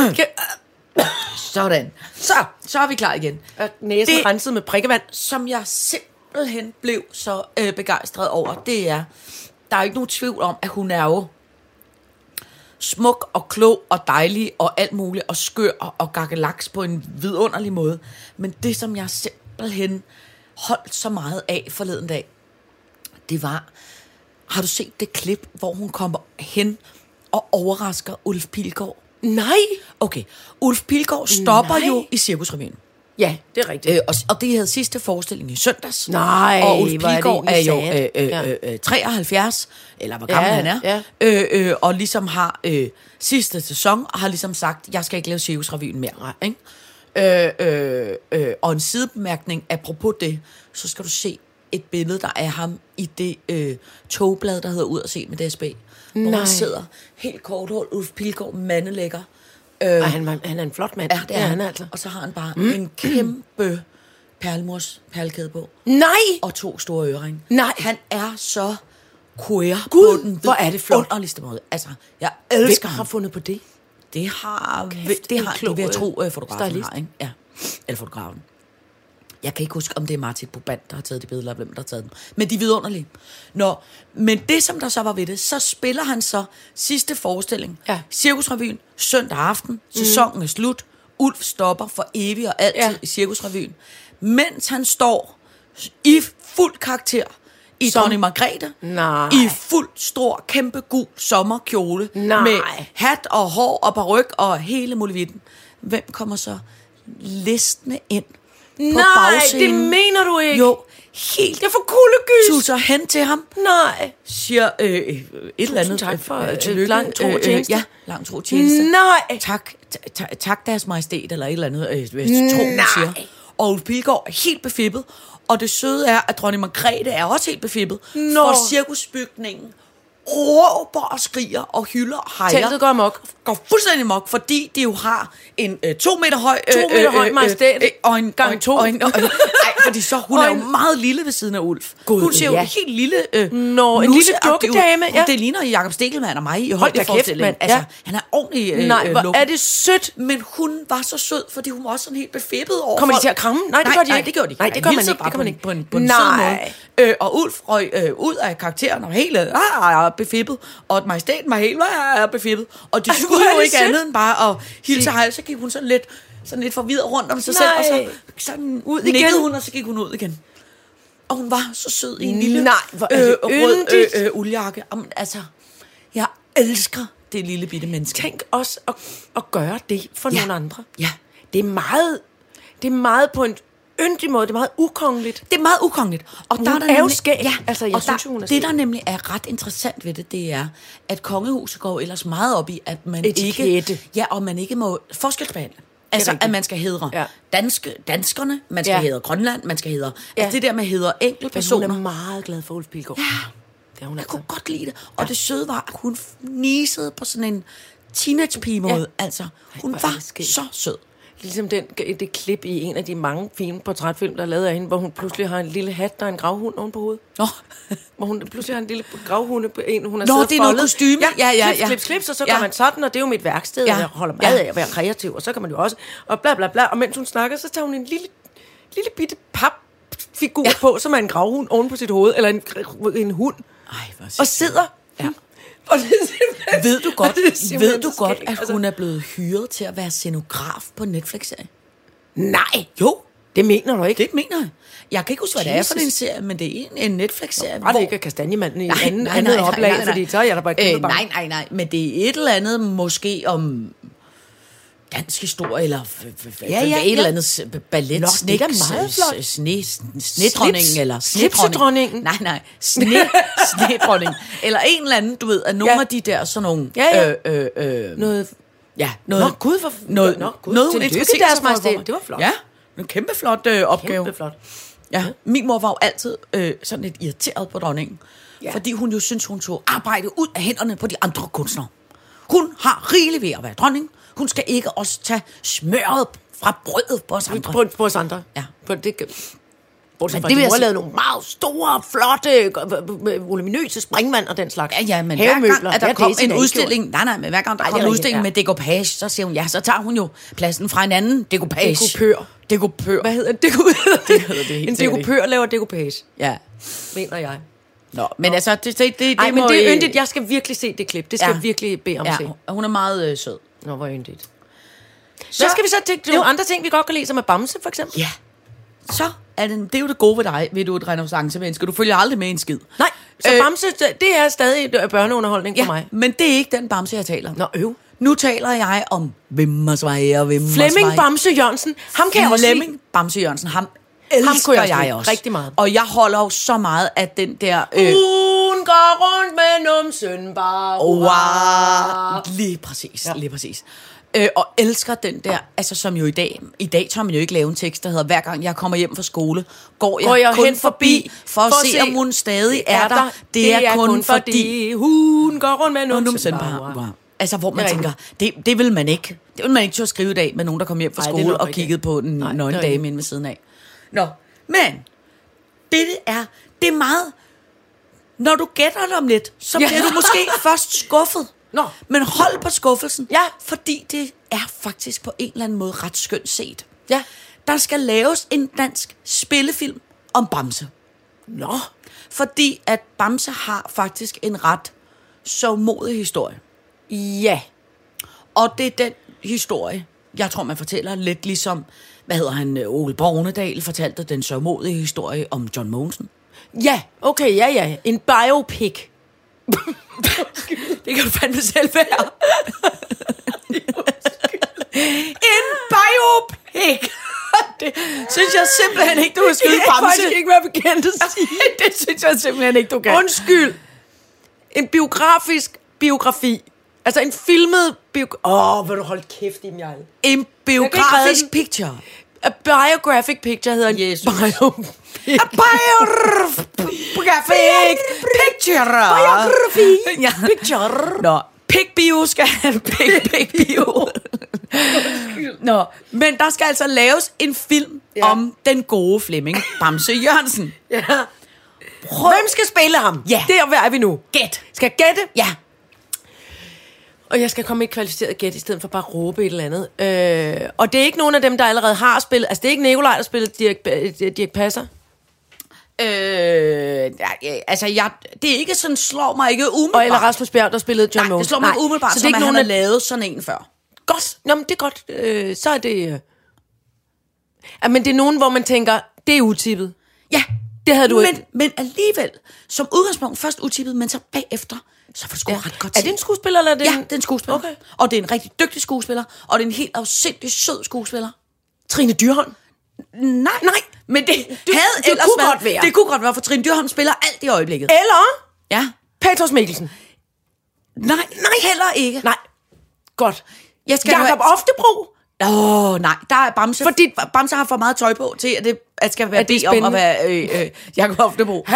S4: Sådan. Så, så er vi klar igen
S3: Og Næsen det...
S4: Det-
S3: renset med prikkevand.
S4: som jeg simpelthen blev så øh, begejstret over, det er, der er ikke nogen tvivl om, at hun er jo smuk og klog og dejlig og alt muligt og skør og, og gakkelaks på en vidunderlig måde. Men det, som jeg simpelthen holdt så meget af forleden dag, det var, har du set det klip, hvor hun kommer hen og overrasker Ulf Pilgaard?
S3: Nej!
S4: Okay, Ulf Pilgaard stopper
S3: Nej.
S4: Nej. jo i Cirkusrevyen.
S3: Ja, det er rigtigt.
S4: Øh, og, og det havde sidste forestilling i søndags.
S3: Nej,
S4: og Ulf
S3: hvor er det
S4: Pilgaard er, er
S3: egentlig
S4: jo øh,
S3: sad.
S4: øh,
S3: Ja.
S4: øh, øh, 73, eller hvor gammel
S3: Ja,
S4: han er,
S3: ja.
S4: øh, øh, og ligesom har øh, sidste sæson, og har ligesom sagt, jeg skal ikke lave Cirkusrevyen mere. Ikke? Øh, øh, øh, og en sidebemærkning, apropos det, så skal du se et billede, der er af ham i det øh, togblad, der hedder Ud og se med DSB. Nej. Hvor
S3: Nej.
S4: han sidder helt korthåret, Ulf Pilgaard mandelægger.
S3: Ej, han, var, han er en flot mand.
S4: Ja, det er ja,
S3: han er altså.
S4: Og så har han bare mm. en kæmpe perlemors perlekæde på.
S3: Nej!
S4: Og to store øreringe.
S3: Nej.
S4: Han er så queer
S3: Gud,
S4: på den
S3: hvor er det flot.
S4: underligste måde. Altså, jeg elsker
S3: Hvem
S4: ham.
S3: har fundet på det?
S4: Det har,
S3: Kæft,
S4: det
S3: en
S4: har
S3: klog,
S4: det vil jeg tro,
S3: øh,
S4: øh, fotografen
S3: stylist.
S4: har, ikke? Ja. Eller fotografen. Jeg kan ikke huske, om det er Martin Boban, der har taget de billeder, eller hvem der har taget dem. Men de er vidunderlige. Nå, men det, som der så var ved det, så spiller han så sidste forestilling.
S3: Ja. Mm.
S4: Cirkusrevyen, søndag aften, sæsonen er slut. Ulf stopper for evigt og altid
S3: Ja.
S4: ja. i Cirkusrevyen. Mens han står i fuld karakter i
S3: Som-
S4: Dronning Margrethe.
S3: Nej.
S4: I fuld, stor, kæmpe gul sommerkjole.
S3: Nej.
S4: Med hat og hår og peruk og hele muligheden. Hvem kommer så listende ind på
S3: Nej, det
S4: bagscenen?
S3: mener du ikke.
S4: Jo, helt.
S3: Jeg får kuldegys.
S4: Suser hen til ham,
S3: Nej.
S4: siger øh, et eller andet.
S3: tak for,
S4: øh,
S3: øh,
S4: tillykke,
S3: lang Mm. tro
S4: øh, øh,
S3: tjeneste.
S4: Ja, lang tro tjeneste.
S3: Nej.
S4: Tak, ta- ta- tak deres majestæt, eller et eller andet, øh, hvis tro, hun siger. Og Ulf Pilgaard er helt befippet. Og det søde er, at dronning Margrethe er også helt befippet.
S3: Nå.
S4: For cirkusbygningen råber og skriger og hylder og hejer.
S3: Teltet går amok.
S4: går fuldstændig mok, fordi de jo har en øh, to meter høj... Øh,
S3: To meter høj majestæt.
S4: og en
S3: Gang
S4: og en-
S3: to.
S4: Og en, og, øh, ej, fordi så hun
S3: Og
S4: er jo
S3: en-
S4: meget lille ved siden af Ulf.
S3: Gud,
S4: hun ser jo
S3: ja.
S4: helt lille... Øh,
S3: Nå, en
S4: nusse-
S3: lille
S4: og det er jo-
S3: dukkedame, ja.
S4: Det ligner Jakob Stikkelmann og mig i
S3: Hold da kæft,
S4: højdeforestillingen.
S3: mand,
S4: Altså,
S3: ja.
S4: han er ordentlig øh,
S3: Nej,
S4: øh,
S3: hvor
S4: lukken.
S3: er det sødt.
S4: Men hun var så sød, fordi hun var også sådan helt befippet over
S3: Kommer de
S4: folk.
S3: til at kramme? Nej, det
S4: nej,
S3: gør de
S4: nej,
S3: ikke.
S4: det gør de ikke.
S3: Nej, det gør man
S4: hilser
S3: ikke,
S4: bare
S3: det gør man
S4: på en-
S3: ikke.
S4: På en, på en sød måde.
S3: Nej.
S4: Øh, og Ulf røg øh, ud af karakteren og helt øh, ah, ah, befippet. Og majestæten var helt ah, ah, befippet. Og de
S3: Ej, hvor
S4: skulle
S3: er
S4: jo
S3: det
S4: ikke
S3: sødt.
S4: andet end bare at hilse hej. Så gik hun sådan lidt, sådan lidt forvirret rundt om sig
S3: Nej.
S4: selv. Og så sådan ud
S3: Nikkede
S4: igen.
S3: hun,
S4: hun, og så gik hun ud igen. Og hun var så sød i en lille
S3: Nej, hvor er det
S4: rød
S3: yndigt.
S4: øh, øh, uldjakke. Jamen, altså, jeg elsker det lille bitte menneske.
S3: Tænk også at, at gøre det for ja.
S4: Ja.
S3: nogle andre.
S4: Ja.
S3: Det er meget, det er meget på en yndig måde. Det er meget ukongeligt.
S4: Det er meget ukongeligt. Og
S3: Hun
S4: der
S3: er
S4: er,
S3: jo
S4: der nemlig,
S3: skæg.
S4: Ja,
S3: Altså, jeg
S4: og
S3: synes
S4: der,
S3: jo, hun er skæg.
S4: det, der nemlig er ret interessant ved det, det er, at kongehuset går jo ellers meget op i, at man
S3: Etikette.
S4: ikke... Ja, og man ikke må forskelsbehandle. Altså,
S3: rigtigt.
S4: at man skal hedre
S3: Ja.
S4: ja. danske, danskerne, man skal
S3: Ja.
S4: ja. hedre Grønland, man skal hedre... Ja.
S3: Ja.
S4: Altså, det der med at hedre enkeltpersoner.
S3: Hun er meget glad for Ulf Pilgaard. Ja. Det er hun
S4: Jeg
S3: altså.
S4: kunne godt lide det. Og det søde var, at hun nisede på sådan en teenage-pige-måde. Ja. Altså, hun
S3: hvor er
S4: var
S3: det skægt.
S4: så sød.
S3: Ligesom den, det klip i en af de mange fine portrætfilm, der er lavet af hende, hvor hun pludselig har en lille hat, der er en gravhund oven på hovedet.
S4: Nå,
S3: Hvor hun pludselig har en lille gravhunde på en, hun har
S4: Nå,
S3: siddet
S4: det er noget
S3: foldet.
S4: kostyme.
S3: Ja, ja,
S4: Ja,
S3: ja.
S4: ja,
S3: Klips,
S4: ja.
S3: klips, klips, og så går
S4: Ja.
S3: man sådan, og det er jo mit værksted, ja.
S4: Ja.
S3: og jeg holder meget
S4: Ja.
S3: af at være kreativ, og så kan man jo også, og bla bla bla. Og mens hun snakker, så tager hun en lille, lille bitte pap figur ja. på, som er en gravhund oven på sit hoved, eller en, en hund,
S4: Ej, hvor
S3: og sidder.
S4: Ja.
S3: Og det er simpelthen-
S4: Ved du godt,
S3: det er simpelthen
S4: ved du
S3: så
S4: godt
S3: skægt,
S4: at
S3: altså.
S4: hun er blevet hyret til at være scenograf på en Netflix-serie?
S3: Nej,
S4: Jo,
S3: det mener du ikke.
S4: det mener jeg. Jeg kan ikke huske, hvad det er for
S3: Jesus.
S4: en serie, men det er en, en Netflix-serie.
S3: Bare det ikke er kastanjemanden i en anden, andet oplag, fordi så er jeg da bare et
S4: øh,
S3: kæmpe barn.
S4: Nej, nej, nej, men det er et eller andet måske om dansk historie, eller f- f- f-
S3: Ja, ja,
S4: et
S3: ja.
S4: eller andet s- b- ballet, øh,
S3: Nå, det er da meget flot.
S4: s- sne, snedronningen,
S3: Slips-
S4: eller
S3: slipsedronningen.
S4: Nej, nej, sne, snedronning, eller en eller anden, du ved, af nogle
S3: Ja.
S4: af de der sådan nogle,
S3: Ja, ja.
S4: Øh, øh, øh,
S3: Noget,
S4: ja, noget,
S3: Nå, Gud, hvor-
S4: noget,
S3: Nå, Gud,
S4: noget hun
S3: tillykke,
S4: interesserer
S3: Deres
S4: sig for.
S3: Majestæt. Det var flot.
S4: Ja, en kæmpe flot øh, opgave.
S3: kæmpe flot.
S4: Ja, min mor var jo altid øh, sådan lidt irriteret på dronningen, ja.
S3: Ja.
S4: fordi hun jo synes, hun tog arbejde ud af hænderne på de andre kunstnere. Hun har rigeligt ved at være dronning. Hun skal ikke også tage smøret fra brødet på os andre.
S3: På, på os andre.
S4: Ja.
S3: På det, Bortset
S4: Men det
S3: fra, det
S4: vil
S3: de
S4: jeg
S3: har
S4: sige-
S3: lavet nogle meget store, flotte, øh, voluminøse springvand og den slags.
S4: Ja, ja, men hver gang,
S3: Havemøbler.
S4: at der ja,
S3: Ja, det
S4: kom
S3: er sådan,
S4: en
S3: jeg ikke
S4: udstilling, nej, nej, men hver gang der
S3: Ej,
S4: kom
S3: det
S4: en
S3: er rigtigt,
S4: udstilling
S3: ja.
S4: med dekopage, så siger hun, ja, så tager hun jo pladsen fra en anden dekopage.
S3: Dekupør.
S4: Dekopør.
S3: gjorde. Hvad hedder det? Deku-
S4: Det hedder det helt
S3: En
S4: sikkert
S3: dekupør laver dekupage,
S4: Ja.
S3: mener jeg.
S4: Nå, men altså, det, det, det, det
S3: Nej, men
S4: må
S3: det
S4: I-
S3: er yndigt. Jeg skal virkelig se det klip. Det skal
S4: Ja.
S3: ja. jeg virkelig bede om ja. se.
S4: Ja, hun er meget øh, sød.
S3: Nå, hvor yndigt. Så, Hvad skal vi så tænke? Det er jo andre ting, vi godt kan lide, som er bamse, for eksempel.
S4: Ja. Så er det, det er jo det gode ved dig, ved du er et renaissancemenneske. Du følger aldrig med en skid.
S3: Nej, så
S4: Øh,
S3: øh, bamse, det- det er stadig øh, børneunderholdning ja.
S4: Ja,
S3: for mig.
S4: men det er ikke den bamse, jeg taler om.
S3: Nå, øv.
S4: Nu taler jeg om Vimmersvejer, Vimmersvejer.
S3: Flemming Bamse Jørgensen, ham kan jeg også lide.
S4: Flemming Bamse Jørgensen, ham elsker ham
S3: kunne
S4: jeg,
S3: jeg også
S4: jeg
S3: lide
S4: også.
S3: rigtig meget. Uh.
S4: Og jeg holder jo så meget af den der... Øh,
S3: Hun går rundt med numsen bare.
S4: Wow. Lige præcis, ja. lige præcis. Øh, og elsker den der, altså som jo i dag, i dag tør man jo ikke lave en tekst, der hedder, hver gang jeg kommer hjem fra skole, går jeg,
S3: Går jeg
S4: kun
S3: hen
S4: forbi, for at se, om hun stadig er der. Det, det er, kun, fordi,
S3: hun går rundt med
S4: Undum
S3: numsen
S4: Sendbar. Wow.
S3: bare.
S4: Altså, hvor man
S3: Det er
S4: tænker, det, det vil man ikke. Det vil man ikke turde skrive i dag med nogen, der kom hjem fra
S3: Ej, det
S4: skole
S3: lukker
S4: og
S3: ikke.
S4: kiggede på en
S3: Nej, det er
S4: nøgen dame
S3: rigtigt.
S4: inde ved siden af. Nå, men det er, det er meget... Når du gætter det om lidt, så
S3: Ja.
S4: bliver du måske først skuffet.
S3: Nå.
S4: Men hold på skuffelsen.
S3: Ja.
S4: Fordi det er faktisk på en eller anden måde ret skønt set.
S3: Ja.
S4: Der skal laves en dansk spillefilm om Bamse.
S3: Nå.
S4: Fordi at Bamse har faktisk en ret sovmodig historie.
S3: Ja.
S4: Og det er den historie, jeg tror, man fortæller lidt ligesom, hvad hedder han, øh, Ole Bornedal fortalte den sørmodige historie om John Mogensen.
S3: Ja, okay, ja, ja. En biopic.
S4: Det kan du fandme selv være. en biopic. det synes jeg simpelthen ikke, du kan skyde Bamse.
S3: ikke være bekendt at sige.
S4: det synes jeg simpelthen ikke, du kan.
S3: Undskyld. En biografisk biografi. Altså en filmet biografi. Åh, oh, vil du holde kæft i mig.
S4: en
S3: biografisk
S4: biografisk picture.
S3: A biographic picture hedder en
S4: Jesus.
S3: biopic.
S4: A biographic picture.
S3: Biografi.
S4: Ja.
S3: Picture.
S4: Nå, pikbio skal han pik, pikbio. Nå, men der skal altså laves en film ja.
S3: Ja.
S4: om den gode Flemming Bamse Jørgensen.
S3: Ja. Hvem skal spille ham?
S4: Ja.
S3: Der hvor er vi nu.
S4: Gæt.
S3: Skal jeg gætte?
S4: Ja,
S3: Og jeg skal komme med et kvalificeret gæt, i stedet for bare at råbe et eller andet. Øh, og det er ikke nogen af dem, der allerede har spillet. Altså, det er ikke Nikolaj, der spiller Dirk, øh, Dirk Passer.
S4: øh, ja, ja, altså jeg, det er ikke sådan, slår mig ikke umiddelbart.
S3: Og eller Rasmus Bjerg, der spillede John
S4: Nej, det
S3: Mogensen.
S4: slår mig ikke umiddelbart,
S3: så det er ikke
S4: nogen,
S3: nogen
S4: der
S3: af...
S4: lavet sådan en før.
S3: Godt, Nå, men det er godt. Øh, så er det... Øh... Ja, men det er nogen, hvor man tænker, det er utippet.
S4: Ja,
S3: Det havde du
S4: men,
S3: ikke.
S4: Men alligevel, som udgangspunkt først utippet, men så bagefter, så får du ja. ret godt
S3: Er
S4: til.
S3: det en skuespiller, eller er det
S4: Ja,
S3: en...
S4: det er en skuespiller. Okay.
S3: Okay.
S4: Og det er en rigtig dygtig skuespiller, og det er en helt afsindig sød skuespiller.
S3: Trine Dyrholm?
S4: Nej, nej, men det, det havde
S3: det
S4: ellers
S3: kunne
S4: været,
S3: godt være.
S4: Det kunne godt være, for Trine Dyrholm spiller alt i øjeblikket.
S3: Eller
S4: Ja.
S3: Patos Mikkelsen?
S4: Nej, nej, heller ikke.
S3: Nej. Godt.
S4: Jeg skal
S3: Jakob
S4: have-
S3: Oftebro?
S4: Åh, oh, nej, der er Bamse.
S3: Fordi-
S4: Bamse har for meget tøj på til, at det at skal være
S3: At det er
S4: det om at
S3: spændende.
S4: være øh, øh, Jakob Hoftebro.
S3: Han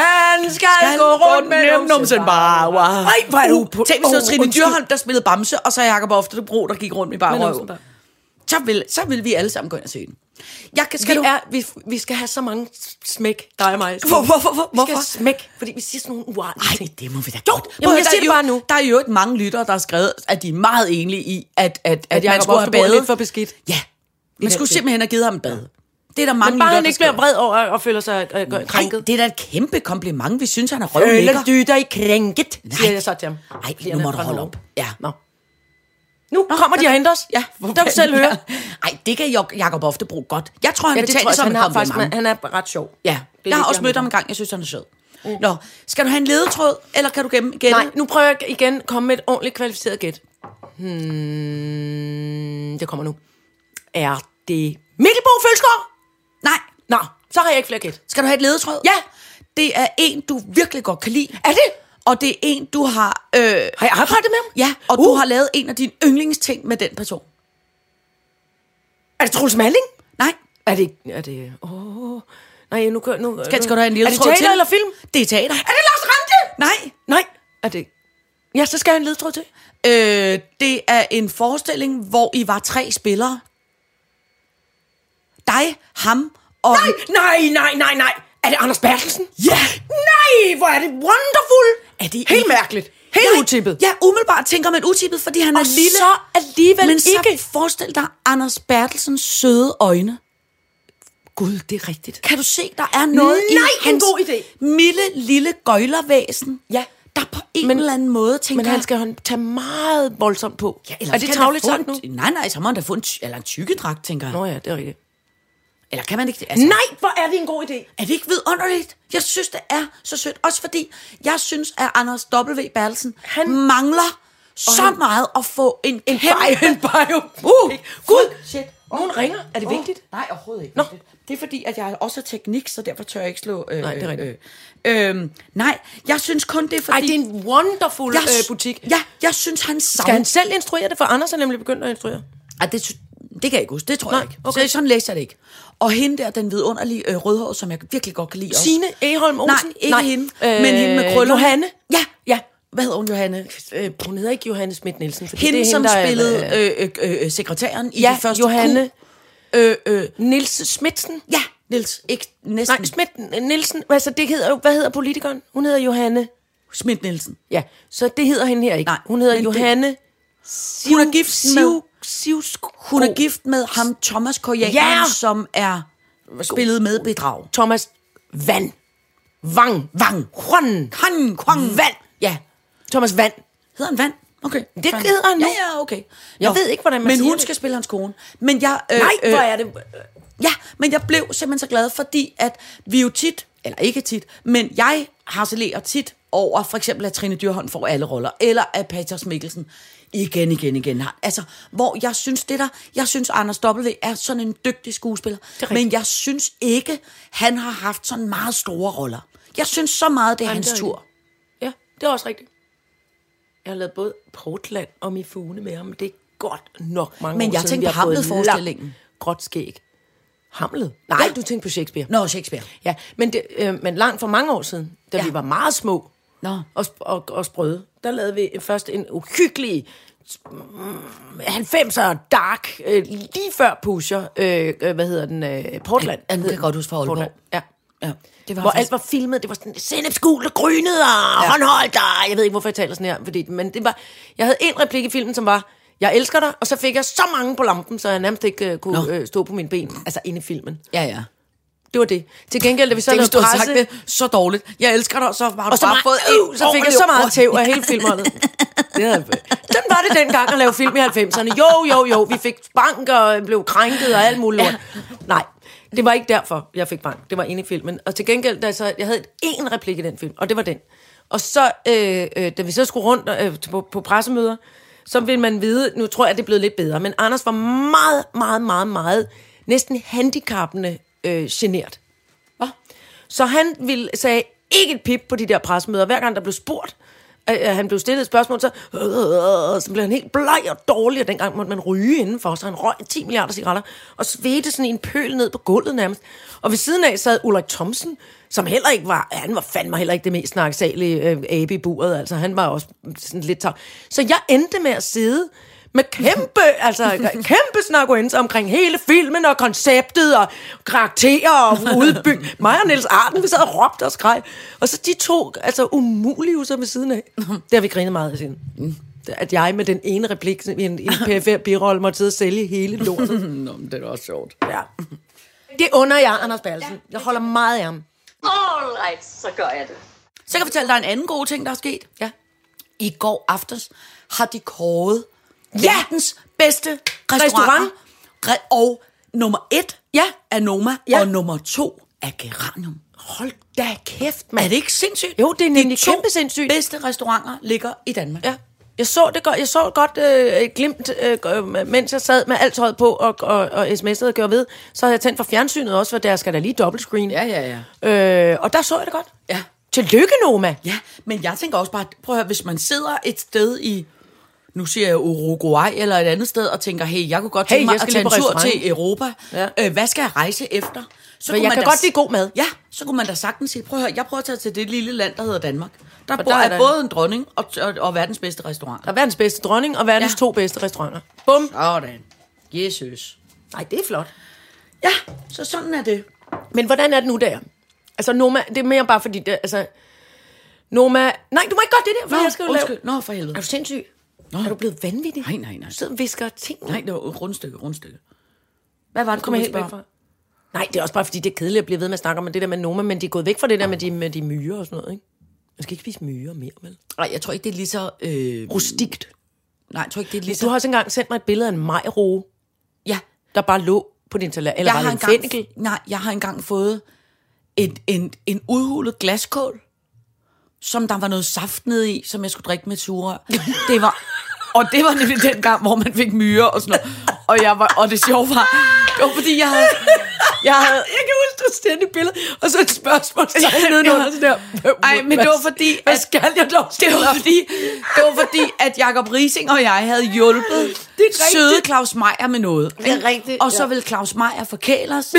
S3: skal,
S4: skal
S3: gå rundt med
S4: numsen bare. Wow.
S3: Ej, hvor er Uh, du på...
S4: Uh, Tænk, hvis det var
S3: Åh,
S4: Trine
S3: undskyld.
S4: Dyrholm, der spillede Bamse, og så Jakob Oftebro, der gik rundt i bare
S3: Med
S4: røv.
S3: numsen bare.
S4: Så vil, så vil vi alle sammen gå ind og se den. Jeg kan, skal
S3: Skal vi,
S4: du...
S3: er, vi, vi skal have så mange smæk, dig og mig.
S4: Hvor- hvor- hvor- hvor-
S3: Vi skal
S4: hvorfor?
S3: have smæk, fordi vi siger sådan nogle uartige
S4: Ej,
S3: ting.
S4: det må vi da
S3: Jo,
S4: godt.
S3: jamen,
S4: Prøv,
S3: jeg
S4: der
S3: siger
S4: er
S3: det
S4: jo-
S3: bare nu.
S4: Der er jo et mange lyttere, der har skrevet, at de er meget enige i, at, at, at, at
S3: Jacob
S4: man skulle have
S3: Oftebro er
S4: badet.
S3: lidt for beskidt.
S4: Ja, man skulle
S3: det.
S4: simpelthen have givet ham et bad. Det er der mange
S3: Men bare
S4: lyttere,
S3: han
S4: der
S3: ikke bliver
S4: skriver.
S3: vred over og føler sig øh, øh,
S4: Nej,
S3: krænket. Øh,
S4: det er da et kæmpe kompliment. Vi synes, han er
S3: Føler
S4: røvlækker.
S3: du dig krænket, siger jeg så til ham.
S4: Ej,
S3: Fordi
S4: nu
S3: han
S4: må
S3: er
S4: du
S3: fra
S4: holde
S3: Norge.
S4: op. Ja.
S3: Nå. Nu kommer de og henter os.
S4: Ja,
S3: der kan du selv høre.
S4: Nej, det kan Jo- Jacob ofte bruge godt. Jeg tror, han
S3: Ja,
S4: ja,
S3: det
S4: vil tage
S3: tror
S4: det som
S3: jeg,
S4: en
S3: han har faktisk,
S4: kompliment.
S3: man, han er ret sjov.
S4: Ja,
S3: Det er
S4: jeg har
S3: lidt
S4: også
S3: det,
S4: mødt
S3: jeg
S4: ham en gang. Jeg synes, han er sød. Nå, skal du have en ledetråd, eller kan du gemme gætte?
S3: Nej, nu prøver jeg igen at komme med et ordentligt kvalificeret gæt. Hmm, det kommer nu. Er det Mikkel Bo Følsgaard?
S4: Nej.
S3: Nå, så har jeg ikke flere gæt.
S4: Skal du have et ledetråd?
S3: Ja.
S4: Det er en, du virkelig godt kan lide.
S3: Er det?
S4: Og det er en, du har... Øh,
S3: Har jeg arbejdet med ham?
S4: ja, og
S3: Uh.
S4: du har lavet en af dine yndlingsting med den person.
S3: Er det Troels Malling?
S4: Nej.
S3: Er det... Er det... Åh... Nej, nu kører... Nu,
S4: Skal, skal du have en
S3: Er det
S4: ledetråd
S3: teater
S4: til?
S3: eller film?
S4: Det er teater.
S3: Er det Lars Rante?
S4: Nej.
S3: Nej. Er det... Ja, så skal jeg have en ledtråd til.
S4: Øh, det er en forestilling, hvor I var tre spillere. Dig, ham og...
S3: Nej, nej, nej, nej, nej. Er det Anders Bertelsen?
S4: Ja!
S3: Nej, hvor er det wonderful.
S4: Er det
S3: Helt
S4: ikke-
S3: mærkeligt. Helt
S4: Jeg-
S3: utippet.
S4: Ja, umiddelbart tænker man utippet, fordi han
S3: Og
S4: er lille.
S3: så alligevel
S4: men
S3: ikke.
S4: så forestil dig Anders Bertelsens søde øjne.
S3: Gud, det er rigtigt.
S4: Kan du se, der er noget i
S3: Nej, en
S4: hans
S3: god idé.
S4: milde lille gøjlervæsen,
S3: Ja.
S4: der på en
S3: Men-
S4: men, eller anden måde tænker...
S3: Men han skal han tage meget voldsomt på.
S4: Ja,
S3: er det tavligt sagt nu?
S4: Nej, nej, så må han da få en, ty- eller en tykkedragt, tænker jeg.
S3: Nå ja, det er rigtigt.
S4: Eller kan man ikke... Altså,
S3: Nej, hvor er det en god idé.
S4: Er det ikke vidunderligt? Jeg synes, det er så sødt. Også fordi, jeg synes, at Anders W. Bertelsen
S3: Han-
S4: han mangler så
S3: han-
S4: han... meget at få en, en
S3: Bio, en bio.
S4: Uh,
S3: Gud.
S4: shit.
S3: Nogen ringer. Er det vigtigt?
S4: Oh, nej, overhovedet ikke.
S3: Nå.
S4: Nå. Det er fordi, at jeg også er teknik, så derfor tør jeg ikke slå... Øh,
S3: Nej, det er rigtigt.
S4: Øh, øh, nej, jeg synes kun, det er fordi...
S3: Ej, det er en wonderful
S4: jeg,
S3: øh, butik.
S4: Ja, jeg synes, han savner...
S3: Skal han selv instruere det? For Anders er nemlig begyndt at instruere.
S4: Ej, det, sy- det kan jeg ikke huske. Det tror
S3: Nej,
S4: jeg ikke.
S3: okay.
S4: Okay. Så sådan læste jeg det ikke. Og hende der, den vidunderlige øh, rødhårede, som jeg virkelig godt kan lide også.
S3: Signe Egholm Olsen?
S4: Nej, ikke Nej. hende. Øh, men hende med krøller.
S3: krøller. Johanne?
S4: Ja.
S3: Ja.
S4: Hvad hedder hun, Johanne?
S3: Øh, hun hedder ikke Johanne Schmidt Nielsen. Fordi
S4: Hende,
S3: det er
S4: som
S3: hende, der er-
S4: spillede øh, øh, øh, sekretæren i
S3: Ja,
S4: det første
S3: Johanne.
S4: Ku. Øh, øh,
S3: Nils Smitsen?
S4: ja, Niels. Ikke næsten.
S3: Nej, Schmidt Nielsen. Altså, det hedder jo, hvad hedder politikeren? Hun hedder Johanne.
S4: Schmidt Nielsen.
S3: Ja, så det hedder hende her ikke.
S4: Nej,
S3: hun hedder
S4: men det-
S3: Johanne.
S4: Hun er gift med...
S3: Siv, Sivsko.
S4: Hun er gift med ham, Thomas Korean,
S3: Ja!
S4: som er spillet med bedrag.
S3: Thomas Van. Vang.
S4: Vang.
S3: Juan.
S4: Han, Kong. Vand.
S3: Ja, Thomas Van.
S4: Hedder han Vand? Okay.
S3: Det hedder han nu.
S4: Ja, ja, okay.
S3: Jeg ved ikke, hvordan man
S4: Men
S3: siger
S4: hun
S3: det.
S4: skal spille hans kone. Men jeg, øh,
S3: Nej,
S4: øh,
S3: hvor er det...
S4: Ja, men jeg blev simpelthen så glad, fordi at vi jo tit, eller ikke tit, men jeg harcelerer tit over for eksempel, at Trine Dyrholm får alle roller, eller at Paters Mikkelsen igen, igen, igen har. Altså, hvor jeg synes det der, jeg synes Anders W. er sådan en dygtig skuespiller,
S3: rigtigt.
S4: men jeg synes ikke, han har haft sådan meget store roller. Jeg synes så meget, det er
S3: Jamen,
S4: hans
S3: det er
S4: tur.
S3: Ja, det er også rigtigt. Jeg har lavet både Portland og Mifune med ham. Det er godt nok mange
S4: Men
S3: år
S4: jeg
S3: siden,
S4: tænkte
S3: vi
S4: på
S3: har fået
S4: Hamlet-forestillingen.
S3: langt Gråt skæg. Hamlet? Nej,
S4: Ja.
S3: du tænkte på Shakespeare.
S4: Nå, Shakespeare.
S3: Ja, men, det, øh, men langt for mange år siden, da ja.
S4: Ja.
S3: vi var meget små
S4: Nå.
S3: Og, sp- og, og sprøde, der lavede vi først en uhyggelig mm, 90'er dark, øh, lige før Pusher, øh, øh, hvad hedder den, øh, Portland.
S4: Ja, nu kan jeg godt huske fra Aalborg.
S3: Ja.
S4: Ja, det var
S3: Hvor
S4: faktisk-
S3: alt var filmet, det var sådan sennepsgul og grynet og ja. håndholdt, og jeg ved ikke, hvorfor jeg taler sådan her, fordi, men det var, jeg havde en replik i filmen, som var, jeg elsker dig, og så fik jeg så mange på lampen, så jeg nærmest ikke øh, kunne
S4: Nå.
S3: øh, stå på mine ben, altså inde i filmen.
S4: Ja, ja.
S3: Det var det. Til gengæld, da vi så
S4: Det kan
S3: lavede
S4: du have
S3: presse,
S4: sagt det så dårligt. Jeg elsker dig, og så har du
S3: og så,
S4: bare fået
S3: meget, øh, så fik jeg så meget
S4: til.
S3: tæv af hele filmholdet. Det havde, sådan var det dengang at lave film i 90'erne. Jo, jo, jo, vi fik bank og blev krænket og alt muligt lort. Nej, det var ikke derfor, jeg fik bank. Det var inde i filmen. Og til gengæld, da jeg, så, jeg havde én replik i den film, og det var den. Og så, øh, øh, da vi så skulle rundt øh, på, på pressemøder, så vil man vide, nu tror jeg, det er blevet lidt bedre, men Anders var meget, meget, meget, meget næsten handicappende øh, genert. Så han ville, sagde ikke et pip på de der pressemøder. Hver gang der blev spurgt, øh, øh, han blev stillet et spørgsmål, så, øh, øh, så blev han helt bleg og dårlig, og dengang måtte man ryge indenfor, så han røg 10 milliarder cigaretter, og svedte sådan i en pøl ned på gulvet nærmest. Og ved siden af sad Ulrik Thomsen, som heller ikke var, ja, han var fandme heller ikke det mest snaksalige øh, abe i buret, altså han var også sådan lidt tav. Så jeg endte med at sidde med kæmpe, altså kæmpe snakuenser omkring hele filmen og konceptet og karakterer og udbyg. Mig og Niels Arden, vi sad og råbte og skreg. Og så de to, altså umulige så ved siden af. Det har vi grinet meget af siden. At jeg med den ene replik i en, i en PFR-birolle måtte sidde og sælge hele lortet.
S4: Nå, men det er også sjovt.
S3: Ja. Det under jeg, Anders Berlsen. Jeg holder meget af ham.
S2: All right, så gør jeg det.
S4: Så kan jeg fortælle dig en anden god ting, der er sket.
S3: Ja.
S4: I går aftes har de kåret ja!
S3: Ja!
S4: verdens bedste restaurant.
S3: Restaurant.
S4: Re- og nummer et
S3: Ja.
S4: er Noma, ja.
S3: Ja.
S4: og nummer to er Geranium.
S3: Hold da kæft, mand.
S4: Er det ikke sindssygt?
S3: Jo, det er nemlig
S4: De to
S3: kæmpe sindssygt.
S4: bedste restauranter ligger i Danmark.
S3: Ja. Jeg så det godt, jeg så godt øh, et glimt, øh, øh, mens jeg sad med alt tøjet på og, og, og sms'ede og gjorde ved. Så havde jeg tændt for fjernsynet også, for der skal der lige dobbeltscreen.
S4: Ja, ja,
S3: Øh, og der så jeg det godt.
S4: Ja.
S3: Tillykke, Noma.
S4: Ja, men jeg tænker også bare, prøv at høre, hvis man sidder et sted i, nu siger jeg Uruguay eller et andet sted, og tænker, hey, jeg kunne godt
S3: Hey,
S4: tænke mig
S3: jeg
S4: at
S3: skal
S4: tage en
S3: lige på
S4: tur
S3: restaurant.
S4: til Europa. Ja.
S3: Ja.
S4: Øh, hvad skal jeg rejse efter? Så
S3: For jeg kan godt lide god mad.
S4: Ja, så kunne man da sagtens sige, prøv at høre, jeg prøver at tage til det lille land, der hedder Danmark. Der, bor,
S3: der
S4: der
S3: er
S4: er
S3: der-
S4: både en dronning og, og, og verdens bedste restaurant.
S3: Der er verdens bedste dronning og verdens
S4: Ja.
S3: ja. to bedste restauranter. Bum.
S4: Sådan. Jesus.
S3: Nej, det er flot.
S4: Ja, så sådan er det.
S3: Men hvordan er det nu der? Altså, Noma, det er mere bare fordi, det, altså... Noma... Nej, du må ikke godt det der, for
S4: Nå,
S3: jeg skal jo
S4: undskyld.
S3: lave...
S4: Nå, for
S3: Er
S4: helvede.
S3: du sindssyg? Nå. Er du blevet vanvittig?
S4: Nej, nej, nej.
S3: Du sidder og visker ting.
S4: Nej, det var rundstykke, rundstykke. Hvad var det, du
S3: kommer
S4: ville
S3: helt væk
S4: spørge om?
S3: fra. Nej, det er også bare fordi, det er kedeligt at blive ved med at snakke om det der med Noma, men de er gået væk fra det der med de, med de myrer og sådan noget, ikke? Man skal ikke spise myrer mere, vel?
S4: Nej, jeg tror ikke, det er lige så... Øh,
S3: Rustikt.
S4: nej, jeg tror ikke, det er lige så...
S3: Du har også engang sendt mig et billede af en majroe,
S4: Ja,
S3: der bare lå på din tallerken. Eller
S4: jeg
S3: var
S4: har,
S3: det en
S4: engang,
S3: fennikel?
S4: nej, jeg har engang fået et, en, en udhulet glaskål, som der var noget saft nede i, som jeg skulle drikke med ture. Det var, og det var nemlig den gang, hvor man fik myre og sådan noget. Og, jeg var, og det sjove var, det var fordi, jeg havde... Jeg havde
S3: Jeg kan huske, du sendte et billede, og så et spørgsmål, så
S4: Ja, ja.
S3: nedenunder sådan der.
S4: Ej, men det var fordi,
S3: Hvad
S4: at-
S3: skal jeg dog
S4: Det
S3: stille
S4: var
S3: op?
S4: fordi, det var fordi at Jacob Rising og jeg havde hjulpet
S3: Det er
S4: søde
S3: rigtigt.
S4: Claus Meier med noget. Det
S3: er rigtigt,
S4: Og så
S3: ja.
S4: ville Claus Meier forkæle os.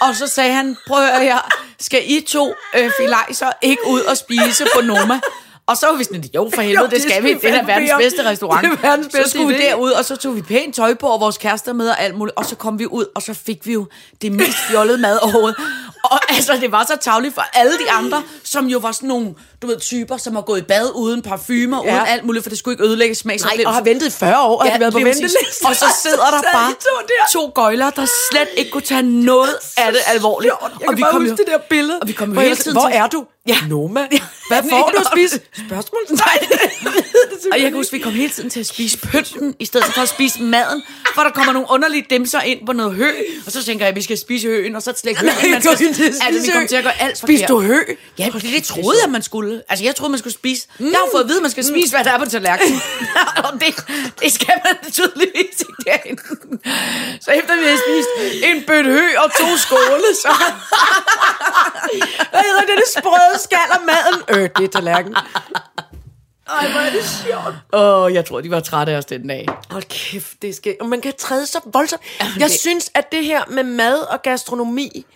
S4: og så sagde han, prøv at høre her, skal I to øh, filejser ikke ud og spise på Noma? Og så var vi sådan, jo for helvede,
S3: Jo,
S4: det
S3: det
S4: skal
S3: skal
S4: vi,
S3: vi
S4: det er da
S3: fandme
S4: verdens
S3: bede om.
S4: bedste restaurant.
S3: Det er verdens
S4: så
S3: bedste
S4: skulle vi
S3: idé.
S4: derud, og så tog vi pænt tøj på, og vores kærester med og alt muligt. Og så kom vi ud, og så fik vi jo det mest fjollede mad overhovedet. Og altså, det var så tavligt for alle de andre, som jo var sådan nogle, du ved, typer, som har gået i bad uden parfumer, ja.
S3: Ja.
S4: uden alt muligt, for det skulle ikke ødelægge
S3: Nej,
S4: smagsoplevelsen.
S3: og har ventet i 40 år, og ja, har været på
S4: lige præcis.
S3: venteliste.
S4: Og så sidder der
S3: sad
S4: bare
S3: de to der.
S4: to gøjler, der slet ikke kunne tage noget af det alvorligt.
S3: sjovt. Jeg kan bare huske det der billede.
S4: Og vi kom jo
S3: Hvor
S4: hele
S3: jeg
S4: tiden
S3: sagde,
S4: til-
S3: Hvor er du?
S4: Ja.
S3: Noma. Hvad får du at spise? Spørgsmål? Nej.
S4: Og jeg kan huske, vi kom hele tiden til at spise pynten, i stedet for at spise maden, for der kommer nogle underlige dimser ind på noget hø, og så tænker jeg, at vi skal spise høen, og så slet ikke høen, man skal spise. Altså, vi kom til at gå alt
S3: Spiste du
S4: forkert.
S3: hø?
S4: Ja, men det, det troede jeg, man skulle. Altså, jeg troede, man skulle spise. Mm. Jeg har fået at vide, at man skal spise, hvad der er på tallerkenen. og det, det skal man tydeligvis ikke derinde. Så efter vi havde spist en bøtte hø og to skåle, så...
S3: Hvad hedder det, det sprøde skal af maden? Øh, det er tallerken.
S4: Åh, oh, jeg tror, de var trætte af os den dag.
S3: Hold kæft, det skal... Og man kan træde så voldsomt. Jeg synes, at det her med mad og gastronomi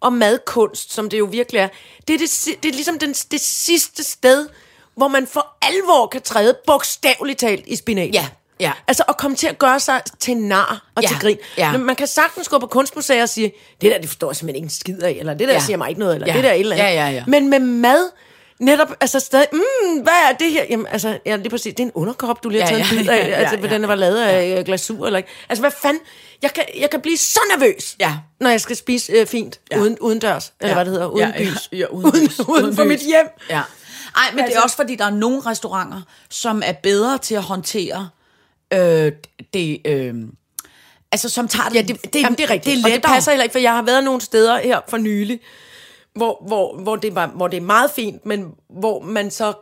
S3: og madkunst, som det jo virkelig er, det er, det, si- det er ligesom den, det sidste sted, hvor man for alvor kan træde bogstaveligt talt i spinat.
S4: Ja, ja.
S3: Altså at komme til at gøre sig til nar og
S4: Ja,
S3: til grin.
S4: ja.
S3: Men man kan sagtens gå på kunstmuseer og sige, det der, det forstår jeg simpelthen ikke en skid af, eller det der
S4: Ja.
S3: ja. siger mig ikke noget, eller
S4: Ja.
S3: det der et eller andet.
S4: Ja, ja, ja.
S3: Men med mad, netop, altså stadig, mm, hvad er det her? Jamen, altså, ja, lige præcis, det er en underkop, du lige har
S4: Ja,
S3: taget
S4: ja,
S3: en bid af,
S4: ja, ja,
S3: altså,
S4: ja.
S3: hvordan den var lavet af øh, glasur eller ikke. Altså, hvad fanden? Jeg kan, jeg kan blive så nervøs,
S4: Ja.
S3: når jeg skal spise øh, fint
S4: Ja.
S3: ja. uden, uden dørs, eller
S4: Ja.
S3: hvad det hedder, uden
S4: Ja, ja,
S3: bys.
S4: ja, uden
S3: uden,
S4: bys.
S3: uden,
S4: Uden
S3: for
S4: bys.
S3: mit hjem.
S4: Ja. Ej, men altså, det er også fordi, der er nogle restauranter, som er bedre til at håndtere øh, det... Øh, altså, som tager det... Ja, det, det,
S3: Jamen, det er rigtigt.
S4: Det er
S3: og
S4: lettere.
S3: det passer heller ikke, for jeg har været nogle steder her for nylig, hvor, hvor, hvor, det, var, hvor det er meget fint, men hvor man så...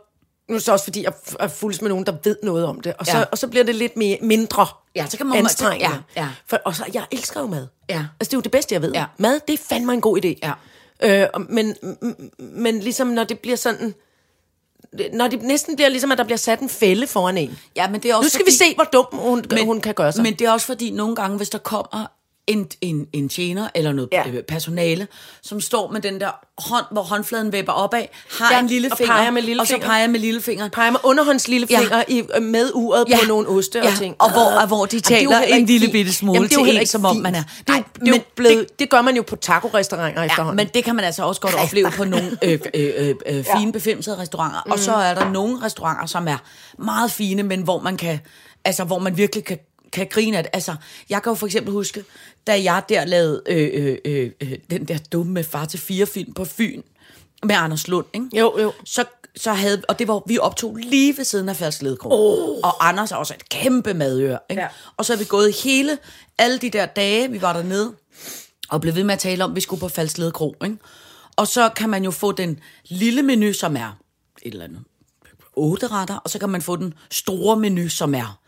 S3: Nu er det så også, fordi jeg f- er fuldt med nogen, der ved noget om det. Og så,
S4: Ja.
S3: ja. og så bliver det lidt mere, mindre
S4: Ja, så kan man-
S3: anstrengende.
S4: ja, ja.
S3: For, og så, jeg elsker jo mad.
S4: Ja.
S3: Altså, det er jo det bedste, jeg ved.
S4: Ja.
S3: Mad, det er fandme en god idé.
S4: Ja.
S3: Øh, og- men, m- m- men ligesom, når det bliver sådan... det- Når det næsten bliver ligesom, at der bliver sat en fælde foran en.
S4: Ja, men det er også
S3: Nu skal
S4: fordi,
S3: vi se, hvor dum hun, men, hun kan gøre sig.
S4: Men det er også fordi, nogle gange, hvis der kommer en, en, en tjener eller noget
S3: Ja.
S4: ja. personale, som står med den der hånd, hvor håndfladen vipper opad, har
S3: Ja,
S4: en lille
S3: og
S4: finger,
S3: peger med lillefinger.
S4: og så peger med lillefingeren.
S3: peger med underhåndslillefinger
S4: Ja.
S3: ja. i, øh, med uret ja. på nogle oste
S4: ja.
S3: og ting.
S4: Og hvor, og hvor de
S3: Jamen, det er jo
S4: taler
S3: heller
S4: en
S3: ikke
S4: lille
S3: fint.
S4: bitte smule
S3: Jamen, det er jo
S4: til
S3: heller
S4: en,
S3: ikke
S4: som om
S3: fint.
S4: man er.
S3: Nej,
S4: Nej,
S3: det, er
S4: men
S3: jo blevet,
S4: det-
S3: det, det gør man jo på taco-restauranter ja,
S4: Ja,
S3: efterhånden.
S4: men det kan man altså også godt opleve på nogle øh, øh, øh, øh, fine befimsede restauranter. Mm. Og så er der nogle restauranter, som er meget fine, men hvor man kan, altså hvor man virkelig kan kan grine af det. Altså, jeg kan jo for eksempel huske, da jeg der lavede øh, øh, øh, øh, den der dumme far til fire film på Fyn med Anders Lund, ikke?
S3: Jo, jo.
S4: Så, så havde, og det var, vi optog lige ved siden af Fast Ledkro. Oh. Og Anders har også et kæmpe madør, ikke?
S3: Ja.
S4: Ja. Og så er vi gået hele, alle de der dage, vi var dernede, og blev ved med at tale om, at vi skulle på Falsled Kro, ikke? Og så kan man jo få den lille menu, som er et eller andet otte retter, og så kan man få den store menu, som er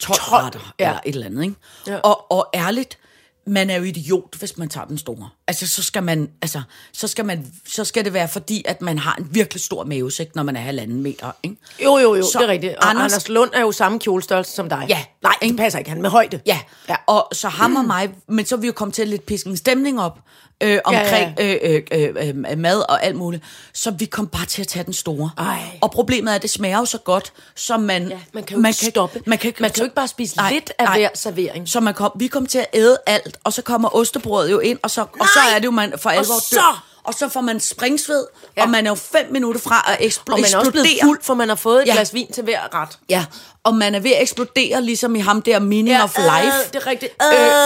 S4: 12,
S3: 12,
S4: retter,
S3: ja.
S4: ja. eller et eller andet, ikke?
S3: Ja.
S4: Ja. Og, og ærligt, man er jo idiot, hvis man tager den store. Altså, så skal man, altså, så skal man, så skal det være fordi, at man har en virkelig stor mavesæk, når man er halvanden meter, ikke?
S3: Jo, jo, jo, så
S4: Så
S3: det er rigtigt. Og Anders,
S4: Anders-
S3: Anders Lund er jo samme kjolestørrelse som dig.
S4: Ja.
S3: Nej, det passer ikke. Han er med højde.
S4: Ja,
S3: ja.
S4: ja. og så ham og mig, men så er vi jo kommet til at lidt piske en stemning op øh, omkring ja, ja. Øh, øh, øh, øh, mad og alt muligt. Så vi kom bare til at tage den store.
S3: Ej.
S4: Og problemet er, at det smager jo så godt, så man... Ja,
S3: man kan jo ikke stoppe.
S4: Man kan,
S3: Man kan jo ikke bare spise lidt af hver servering.
S4: Så man kom, vi kom til at æde alt, og så kommer ostebrødet jo ind, og så, og så
S3: Nej!
S4: er det jo, man for alvor
S3: så-
S4: dør. Og så får man springsved,
S3: Ja.
S4: ja. og man er jo fem minutter fra at ekspl-
S3: Og man er også blevet
S4: eksplodere.
S3: fuld, for man har fået et ja.
S4: Ja.
S3: glas vin til hver ret.
S4: Ja, og man er ved at eksplodere, ligesom i ham der Meaning ja, of
S3: øh,
S4: Life.
S3: det er rigtigt.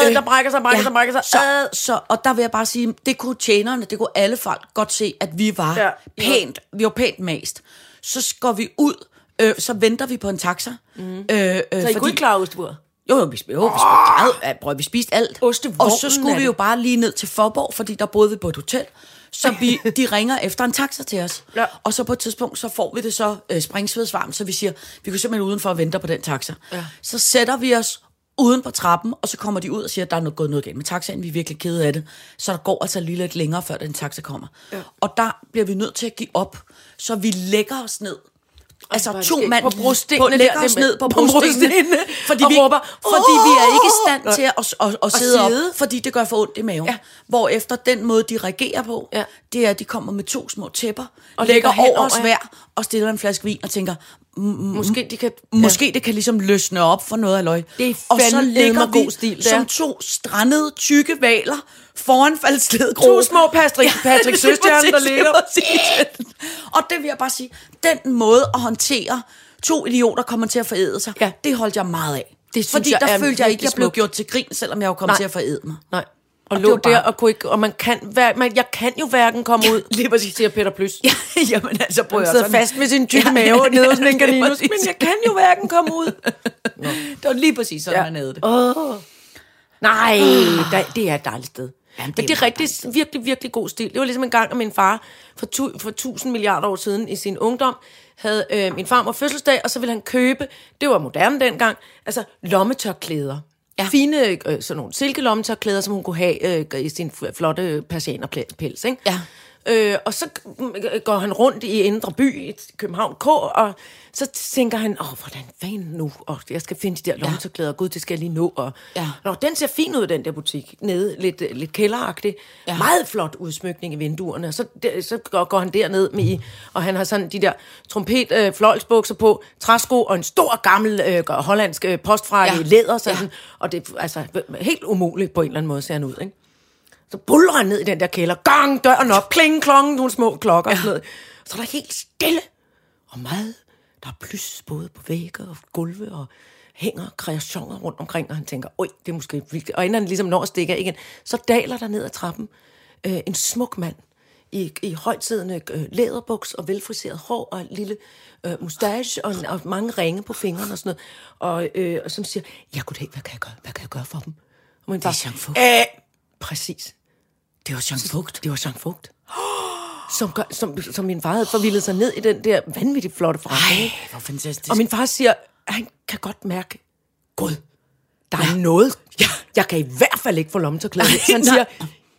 S3: Øh, der brækker sig, brækker sig, brækker sig.
S4: Så,
S3: Øh.
S4: så, og der vil jeg bare sige, det kunne tjenerne, det kunne alle folk godt se, at vi var
S3: Ja.
S4: ja. pænt, vi var pænt mast. Så går vi ud, øh, så venter vi på en taxa. Mm. Øh, øh,
S3: Mhm. Så I kunne ikke klare ostebord?
S4: jo, jo, vi, sp- jo, vi, spiste, meget, ja, brød, vi spiste alt.
S3: Ostevognen
S4: Og så
S3: er
S4: skulle vi jo
S3: det.
S4: bare lige ned til Forborg, fordi der boede vi på et hotel. Så vi, de ringer efter en taxa til os.
S3: Ja.
S4: Og så på et tidspunkt, så får vi det så øh, springsvedsvarm, så vi siger, vi kunne simpelthen udenfor og vente på den taxa. Ja. Så sætter vi os uden på trappen, og så kommer de ud og siger, at der er noget, gået noget galt med taxaen, vi er virkelig kede af det. Så der går altså lige lidt længere, før den taxa kommer. Ja. Og der bliver vi nødt til at give op, så vi lægger os ned.
S3: hvor er
S4: Altså
S3: det
S4: to
S3: skægt.
S4: mand
S3: På brostenene
S4: på- lægger
S3: der,
S4: os
S3: det med-
S4: ned på
S3: på brostenene,
S4: brostenene, fordi
S3: og
S4: vi,
S3: råber,
S4: fordi vi er ikke i
S3: "Åh!"
S4: stand til at, at, at, at sidde op,
S3: sidde.
S4: fordi det gør for ondt i maven.
S3: Ja.
S4: Ja. Hvor efter den måde, de reagerer på,
S3: Ja.
S4: ja. det er, at de kommer med to små tæpper,
S3: Og
S4: og lægger
S3: lægger
S4: over os
S3: henover, ja.
S4: hver, og stiller en flaske vin og tænker,
S3: Måske de kan...
S4: Mm. måske det kan ligesom løsne op for noget af løg.
S3: Det er
S4: og så
S3: fandme
S4: ligger vi
S3: god stil, det er.
S4: som to strandede, tykke valer foran faldsted
S3: To små Patrick, Patrick Søstjerne, der ligger.
S4: Og det vil jeg bare sige, den måde at håndtere to idioter kommer til at forede sig,
S3: Ja.
S4: ja. det holdt jeg meget af.
S3: Det synes
S4: Fordi
S3: jeg er
S4: der følte jeg ikke,
S3: virkelig
S4: jeg blev
S3: smukt.
S4: gjort til grin, selvom jeg jo kom
S3: Nej.
S4: til at forede mig.
S3: Nej. Og,
S4: Og
S3: og
S4: det
S3: lå
S4: var
S3: der
S4: bare-
S3: og kunne ikke... Og man kan, hver, man, jeg kan jo hverken komme ud, lige præcis, siger Peter Plys.
S4: Ja, jamen altså, prøv
S3: Han
S4: at høre,
S3: sidder
S4: sådan-
S3: fast med sin tykke
S4: Ja,
S3: mave
S4: ja,
S3: nede hos
S4: ja,
S3: en
S4: det er
S3: kaninus,
S4: præcis.
S3: men jeg kan jo hverken komme ud.
S4: Det var lige præcis sådan,
S3: Ja.
S4: ja. han havde det.
S3: Åh. Nej, der, det er et dejligt sted.
S4: Ah. Jamen, det
S3: Men det er
S4: er meget
S3: rigtig, virkelig, virkelig god stil. Det var ligesom en gang, at min far for, tu, for 1000 milliarder år siden i sin ungdom havde øh, min farmor fødselsdag, og så ville han købe, det var moderne dengang, altså lommetørklæder. Ja.
S4: Ja.
S3: Fine øh, sådan nogle silkelommetørklæder, som hun kunne have øh, i sin f- flotte persianerpels. Ikke?
S4: Ja.
S3: Øh, og så øh, går han rundt i Indre By, i København K, og så tænker han, åh, hvordan fanden nu? Og jeg skal finde de der lommetørklæder, gud, det skal jeg lige nå. Og,
S4: Ja.
S3: Nå, den ser fin ud, den der butik, nede, lidt, øh, lidt kælderagtig. Ja.
S4: Ja.
S3: Meget flot udsmykning i vinduerne. Og så, der, så går, går han derned med i, og han har sådan de der trompet øh, fløjlsbukser på, træsko og en stor gammel øh, hollandsk øh, postfrakke ja.
S4: Ja.
S3: i læder, sådan. Ja.
S4: Ja.
S3: Og det er altså helt umuligt på en eller anden måde, ser han ud, ikke? Så buller han ned i den der kælder. Gang, døren op. Kling, klong, nogle små klokker og sådan noget. Så er der helt stille og meget. Der er plys både på vægge og gulve og hænger kreationer rundt omkring, og han tænker, oj, det er måske vildt. Og inden han ligesom når at stikke af igen, så daler der ned ad trappen øh, en smuk mand i, i højtidende øh, læderbuks og velfriseret hår og en lille øh, mustache og, en- og mange ringe på fingrene og sådan noget, og, øh, og som siger, jeg kunne ikke, hvad kan jeg gøre, hvad kan jeg gøre for dem? Og man
S4: er Jean Fugt.
S3: bare, Æh, præcis.
S4: Det var Jean Fugt.
S3: Det var Jean Fugt. Som, gør, som, som min far havde forvildet sig ned i den der vanvittigt flotte forretning.
S4: Ej,
S3: ikke?
S4: hvor fantastisk.
S3: Og min far siger, at han kan godt mærke, Gud, der er noget. Jeg, jeg kan i hvert fald ikke få lommetørklæde. Så han
S4: Nej.
S3: siger,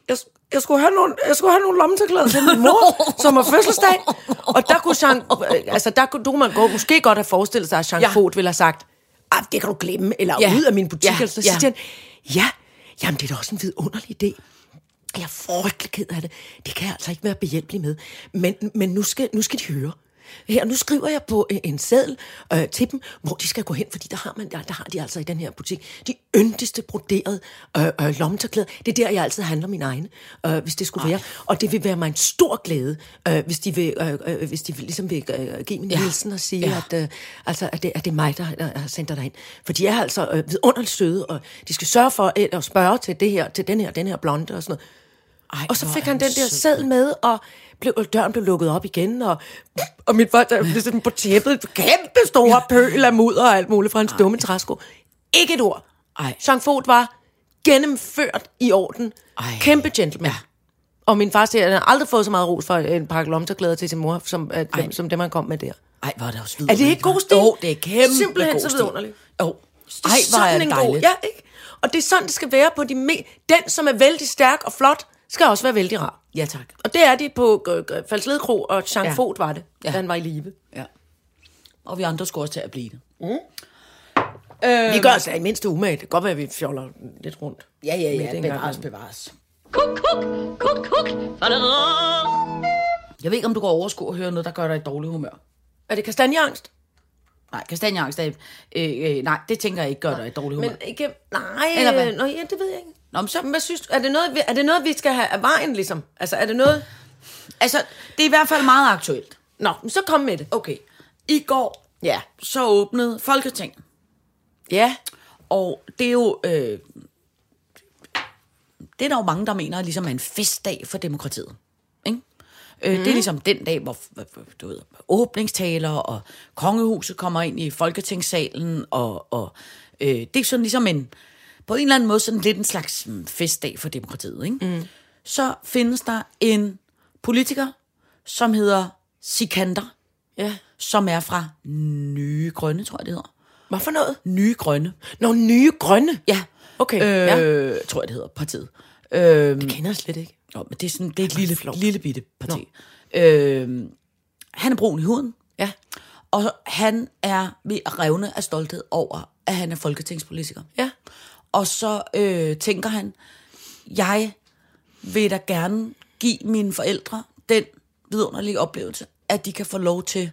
S3: jeg, jeg, skulle have nogle, jeg skulle have nogle lommetørklæder til min mor, som har fødselsdag. Og der kunne, Jean, øh, altså der kunne, der kunne man gå, måske godt have forestillet sig, at Jean ja.
S4: Ja.
S3: Fod ville have sagt, "Ah, det kan du glemme, eller ja.
S4: Ja.
S3: ud af min butik.
S4: Ja.
S3: Eller så
S4: Ja.
S3: siger han, ja, jamen det er da også en vidunderlig idé. Jeg er frygtelig ked af det. Det kan jeg altså ikke være behjælpelig med. Men, men nu, skal, nu skal de høre. Her, nu skriver jeg på øh, en seddel øh, til dem, hvor de skal gå hen, fordi der har, man, der, der har de altså i den her butik de yndigste broderede øh, øh, lommetørklæder. Det er der, jeg altid handler min egen, øh, hvis det skulle Ej. være. Og det vil være mig en stor glæde, øh, hvis de vil, øh, øh, hvis de vil, ligesom vil øh, give min ja. hilsen og sige, ja. at, øh, altså, at, det, at det er mig, der, der har sendt dig derhen. For de er altså øh, vidunderligt søde, og de skal sørge for øh, at spørge til det her, til den her, den her blonde og sådan noget.
S4: Ej,
S3: Og så
S4: hvor
S3: fik
S4: er
S3: han den der
S4: sød.
S3: sæd med, og blev, og døren blev lukket op igen, og, og mit folk der blev sådan på tæppet, kæmpe store pøl af mudder og alt muligt fra hans dumme træsko. Ikke et ord.
S4: Ej.
S3: Jean Fod var gennemført i orden.
S4: Ej.
S3: Kæmpe gentleman. Ja. Og min far siger, at han har aldrig fået så meget ros for en pakke lomterklæder til sin mor, som, at,
S4: Ej.
S3: som dem, han kom med der.
S4: Ej, hvor er det også
S3: Er det ikke god stil?
S4: Jo, det er kæmpe
S3: Simpelthen
S4: god
S3: så
S4: stil.
S3: vidunderligt.
S4: Jo.
S3: Det er
S4: Ej, hvor er
S3: sådan
S4: det
S3: en
S4: dejligt.
S3: god, ja, ikke? Og det er sådan, det skal være på de me- Den, som er vældig stærk og flot, skal også være vældig rar.
S4: ja, tak.
S3: Og det er de på øh, øh, Falsled Kro, og Jean
S4: Ja.
S3: ja. Fod var det,
S4: Ja.
S3: ja. da han var i live.
S4: Ja. Og vi andre skulle også til at blive det.
S3: Vi gør os da i mindste umage. Det kan godt være, at vi fjoller lidt rundt.
S4: Ja, ja,
S3: Med det
S4: ja.
S3: en
S4: Bevares,
S3: gang.
S4: bevares.
S2: Kuk, kuk, kuk, kuk, falderår.
S4: Jeg ved ikke, om du kan overskue at høre noget, der gør dig i dårlig humør.
S3: Er det kastanjeangst?
S4: Nej, kastanjeangst er... Øh, øh, nej, det tænker jeg ikke gør dig i dårlig humør.
S3: Men ikke... Nej,
S4: Eller hvad?
S3: Nå, ja, det ved jeg ikke.
S4: Nå, men så,
S3: Hvad synes du? Er det noget, vi, er det noget, vi skal have af vejen, ligesom? Altså, er det noget...
S4: altså, det er i hvert fald meget aktuelt.
S3: Nå, men så kom med det.
S4: Okay. I går,
S3: Ja.
S4: så åbnede Folketinget.
S3: Ja.
S4: Og det er jo... Øh, det er der jo mange, der mener, ligesom er en festdag for demokratiet. Ikke? Øh, Det er ligesom den dag, hvor hvor- du ved, åbningstaler og kongehuset kommer ind i folketingssalen. Og, og øh, det er sådan ligesom en, på en eller anden måde sådan lidt en slags mm, festdag for demokratiet. Ikke? Mm. Så findes der en politiker, som hedder Sikander,
S3: Ja.
S4: som er fra Nye Grønne, tror jeg det hedder.
S3: Hvad for noget?
S4: Nye Grønne.
S3: Nå, nye grønne.
S4: Ja.
S3: Okay,
S4: Øh, ja. Tror jeg, det hedder partiet. Øh,
S3: Jeg kender jeg slet ikke.
S4: jo, men det er, sådan, det er et lille,
S3: flot.
S4: lille bitte parti. Øh, han er brun i huden,
S3: Ja.
S4: og han er ved at revne af stolthed over, at han er folketingspolitiker.
S3: Ja.
S4: Og så øh, tænker han, jeg vil da gerne give mine forældre den vidunderlige oplevelse, at de kan få lov til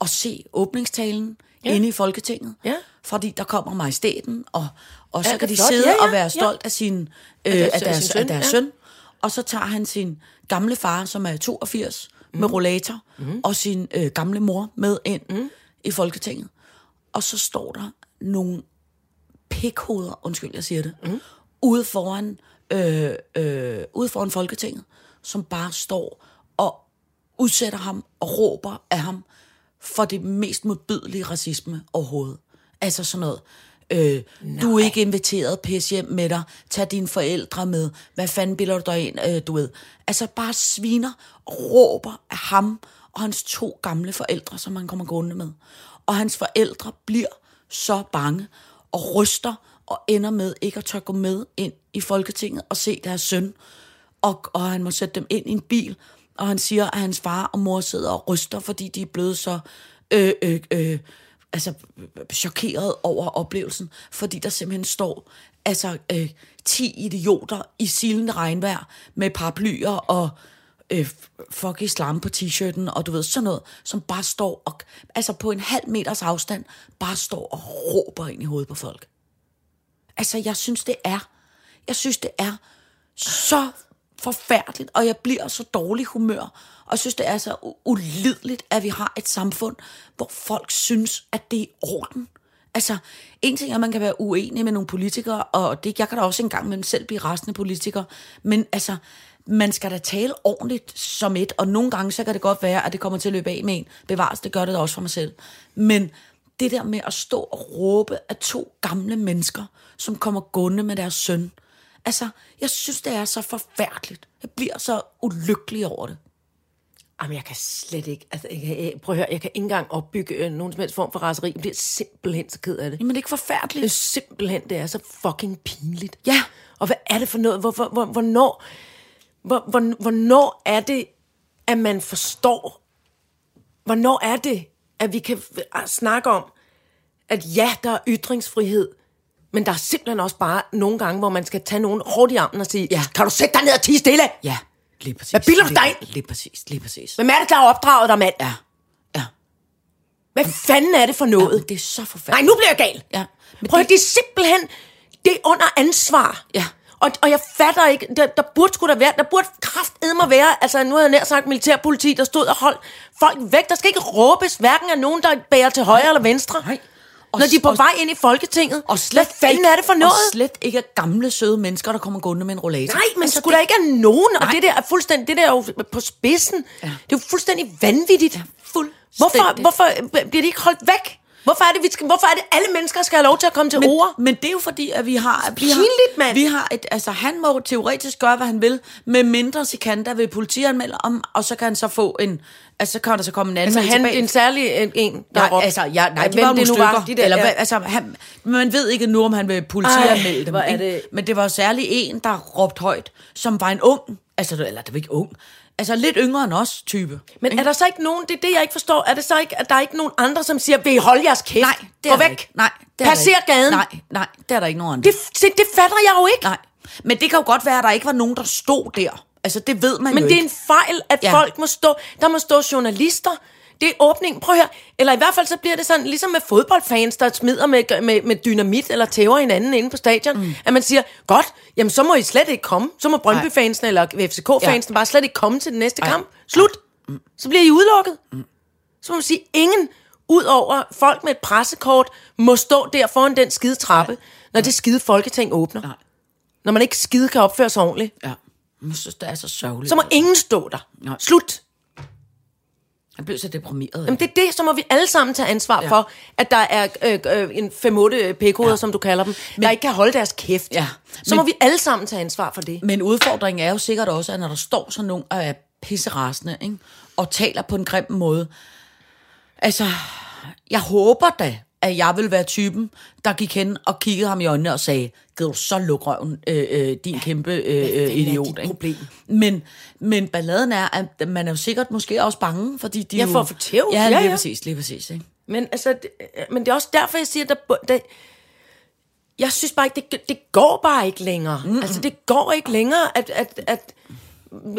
S4: at se åbningstalen ja. inde i Folketinget.
S3: Ja.
S4: Fordi der kommer majestæten, og, og så
S3: det er
S4: kan de
S3: flot.
S4: sidde
S3: Ja, ja,
S4: og være
S3: ja.
S4: stolt af, sin, øh,
S3: deres-
S4: af
S3: af
S4: deres,
S3: sin søn,
S4: af deres
S3: ja.
S4: søn. Og så tager han sin gamle far, som er 82, mm.
S3: Mhm.
S4: med rollator, mm. og sin øh, gamle mor med ind mm. i Folketinget. Og så står der nogle pikhoveder, undskyld, jeg siger det, mm. ude, foran, øh, øh, ude foran Folketinget, som bare står og udsætter ham og råber af ham for det mest modbydelige racisme overhovedet. Altså sådan noget. Øh, du er ikke inviteret, pis hjem med dig, tag dine forældre med, hvad fanden bilder du dig ind, øh, du ved. Altså bare sviner og råber af ham og hans to gamle forældre, som han kommer gående med. Og hans forældre bliver så bange og ryster og ender med ikke at tør gå med ind i Folketinget og se deres søn og, og han må sætte dem ind i en bil, og han siger, at hans far og mor sidder og ryster, fordi de er blevet så øh, øh, øh, altså, øh, chokeret over oplevelsen, fordi der simpelthen står altså, øh, 10 idioter i silende regnvejr med paraplyer og øh, fuck islam på t-shirten, og du ved, sådan noget, som bare står og, altså på en halv meters afstand, bare står og råber ind i hovedet på folk. Altså, jeg synes, det er. Jeg synes, det er så forfærdeligt, og jeg bliver så dårlig humør, og jeg synes, det er så u- ulideligt, at vi har et samfund, hvor folk synes, at det er i orden. Altså, en ting er, at man kan være uenig med nogle politikere, og det, jeg kan da også engang med selv blive resten af politikere, men altså, man skal da tale ordentligt som et, og nogle gange, så kan det godt være, at det kommer til at løbe af med en. Bevares, det gør det da også for mig selv. Men det der med at stå og råbe af to gamle mennesker, som kommer gående med deres søn. Altså, jeg synes, det er så forfærdeligt. Jeg bliver så ulykkelig over det.
S3: Jamen, jeg kan slet ikke... Altså, jeg, kan- jeg, prøv at høre, jeg kan ikke engang opbygge øh, nogen som helst form for raseri. Jeg bliver simpelthen så ked af det.
S4: Jamen, det er ikke
S3: Det er
S4: forfærdeligt.
S3: simpelthen, det er så fucking pinligt.
S4: Ja.
S3: Og hvad er det for noget? Hvor, hvor, hvor, hvornår, hvor, hvor, hvornår er det, at man forstår? Hvornår er det, at vi kan f- snakke om, at ja, der er ytringsfrihed, men der er simpelthen også bare nogle gange, hvor man skal tage nogen hårdt i armen og sige, ja. kan du sætte dig ned og tige stille?
S4: Ja, lige præcis.
S3: Hvad bilder du dig
S4: Lige, lige præcis, lige præcis.
S3: Hvem er det, der har opdraget dig, mand?
S4: Ja, ja.
S3: Hvad fanden er det for noget?
S4: Det er så
S3: Nej,
S4: forfærdeligt.
S3: nu bliver jeg gal.
S4: Ja, men
S3: Prøv det...
S4: det-
S3: det er simpelthen, det er under ansvar.
S4: Ja.
S3: Og, og jeg fatter ikke, der, der burde sgu da være, der burde kraftedme være, altså nu havde jeg nær sagt militærpoliti, der stod og holdt folk væk. Der skal ikke råbes hverken af nogen, der bærer til højre eller venstre.
S4: Nej.
S3: Og
S4: Og
S3: når de er på
S4: s- og-
S3: vej ind i Folketinget.
S4: Og slet
S3: Hvad fanden
S4: ikke,
S3: er det for noget?
S4: Og slet ikke af gamle, søde mennesker, der kommer gående med en rollator. Altså,
S3: Nej, men skulle der ikke have nogen? Og
S4: Nej.
S3: det der er fuldstændig, det der er jo på spidsen. Ja. Det er jo fuldstændig vanvittigt. Ja,
S4: fuldstændig.
S3: Hvorfor, hvorfor øh, bliver de ikke holdt væk? Hvorfor er det, vi skal, hvorfor er det alle mennesker skal have lov til at komme til
S4: men,
S3: ord?
S4: Men det er jo fordi, at vi har... Vi
S3: pinligt,
S4: har,
S3: mand.
S4: Vi har et, altså, han må jo teoretisk gøre, hvad han vil, med mindre Sikander vil politianmelde om, og så kan han så få en... Altså, så kan der så komme en anden
S3: Altså,
S4: en
S3: han,
S4: tilbage.
S3: en særlig øh, en, en der
S4: Nej,
S3: råbte.
S4: altså, ja, nej, de
S3: Hvem
S4: var jo nogle
S3: nu
S4: stykker.
S3: de der,
S4: eller,
S3: ja.
S4: hvad, altså, han, man ved ikke nu, om han vil
S3: Ej,
S4: politianmelde dem.
S3: hvor er
S4: ikke?
S3: det-
S4: Men det var jo særlig en, der råbte højt, som var en ung, altså, eller det var ikke ung, altså lidt yngre end os type.
S3: Men er der så ikke nogen, det er det, jeg ikke forstår, er det så ikke, at der er ikke nogen andre, som siger, vil I holde jeres kæft?
S4: Nej, det
S3: Gå
S4: er der
S3: væk.
S4: Ikke. Nej, det er
S3: Passer
S4: der ikke.
S3: gaden.
S4: Nej, nej, det er der ikke nogen andre.
S3: Det, det, det fatter jeg jo ikke.
S4: Nej, men det kan jo godt være, at der ikke var nogen, der stod der. Altså, det ved man
S3: Men
S4: jo
S3: det er
S4: ikke.
S3: en fejl, at ja.
S4: Ja.
S3: folk må stå, der må stå journalister, det er åbningen, prøv at høre, eller i hvert fald så bliver det sådan, ligesom med fodboldfans, der smider med, med, med dynamit eller tæver hinanden inde på stadion, mm. at man siger, godt, jamen så må I slet ikke komme, så må Brøndby-fansene eller FCK-fansene ja. bare slet ikke komme til den næste
S4: Ej.
S3: kamp, slut, mm. så bliver I udelukket. Mm. Så må man sige, ingen ud over folk med et pressekort må stå der foran den skide trappe, når det skide folketing åbner.
S4: Nej.
S3: Når man ikke skide kan opføre sig ordentligt.
S4: Ja, jeg synes, det er så sørgeligt.
S3: Så må ingen stå der.
S4: Nej.
S3: Slut.
S4: Han blev så deprimeret.
S3: Jamen det er det, så må vi alle sammen tage ansvar ja. for, at der er øh, øh, en 5-8 pækoder, ja. som du kalder dem, men, der ikke kan holde deres kæft.
S4: Ja,
S3: Så
S4: men-
S3: må vi alle sammen tage ansvar for det.
S4: Men udfordringen er jo sikkert også, at når der står sådan nogen og er pisserasende, ikke? og taler på en grim måde. Altså, jeg håber da, at jeg vil være typen, der gik hen og kiggede ham i øjnene og sagde, gider du så lukke røven, øh, øh, din kæmpe øh,
S3: fanden er
S4: øh, idiot.
S3: dit
S4: ikke?
S3: problem?
S4: Men, men balladen er, at man er jo sikkert måske også bange, fordi de
S3: Ja,
S4: jo-
S3: for at få tæv.
S4: Ja,
S3: Ja,
S4: lige
S3: ja.
S4: præcis, lige præcis. Ikke?
S3: Men, altså, det, øh, men det er også derfor, jeg siger, at der, bu- der, jeg synes bare ikke, det, det går bare ikke længere. Mm. Altså det går ikke længere, at, at, at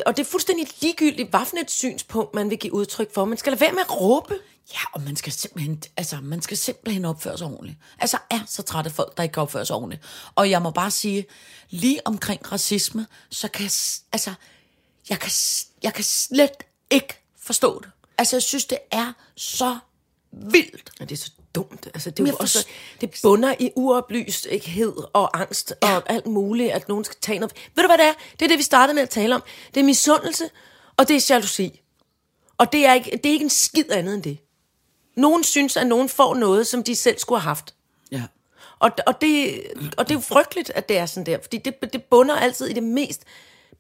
S3: og det er fuldstændig ligegyldigt, hvad for et synspunkt, man vil give udtryk for. Man skal lade være med at råbe.
S4: Ja, og man skal simpelthen, altså, man skal simpelthen opføre sig ordentligt. Altså, jeg er så træt af folk, der ikke kan opføre sig ordentligt. Og jeg må bare sige, lige omkring racisme, så kan jeg, s- altså, jeg kan, s- jeg kan slet ikke forstå det. Altså, jeg synes, det er så vildt.
S3: Og det er så dumt. Altså, det, er
S4: Men
S3: jo
S4: jeg
S3: også,
S4: forst-
S3: det bunder i uoplysthed og angst ja. og alt muligt, at nogen skal tage noget. Ved du, hvad det er? Det er det, vi startede med at tale om. Det er misundelse, og det er jalousi. Og det er ikke, det er ikke en skid andet end det. Nogen synes, at nogen får noget, som de selv skulle have haft.
S4: Ja.
S3: Og, og, det, og det er jo frygteligt, at det er sådan der, fordi det, det bunder altid i det mest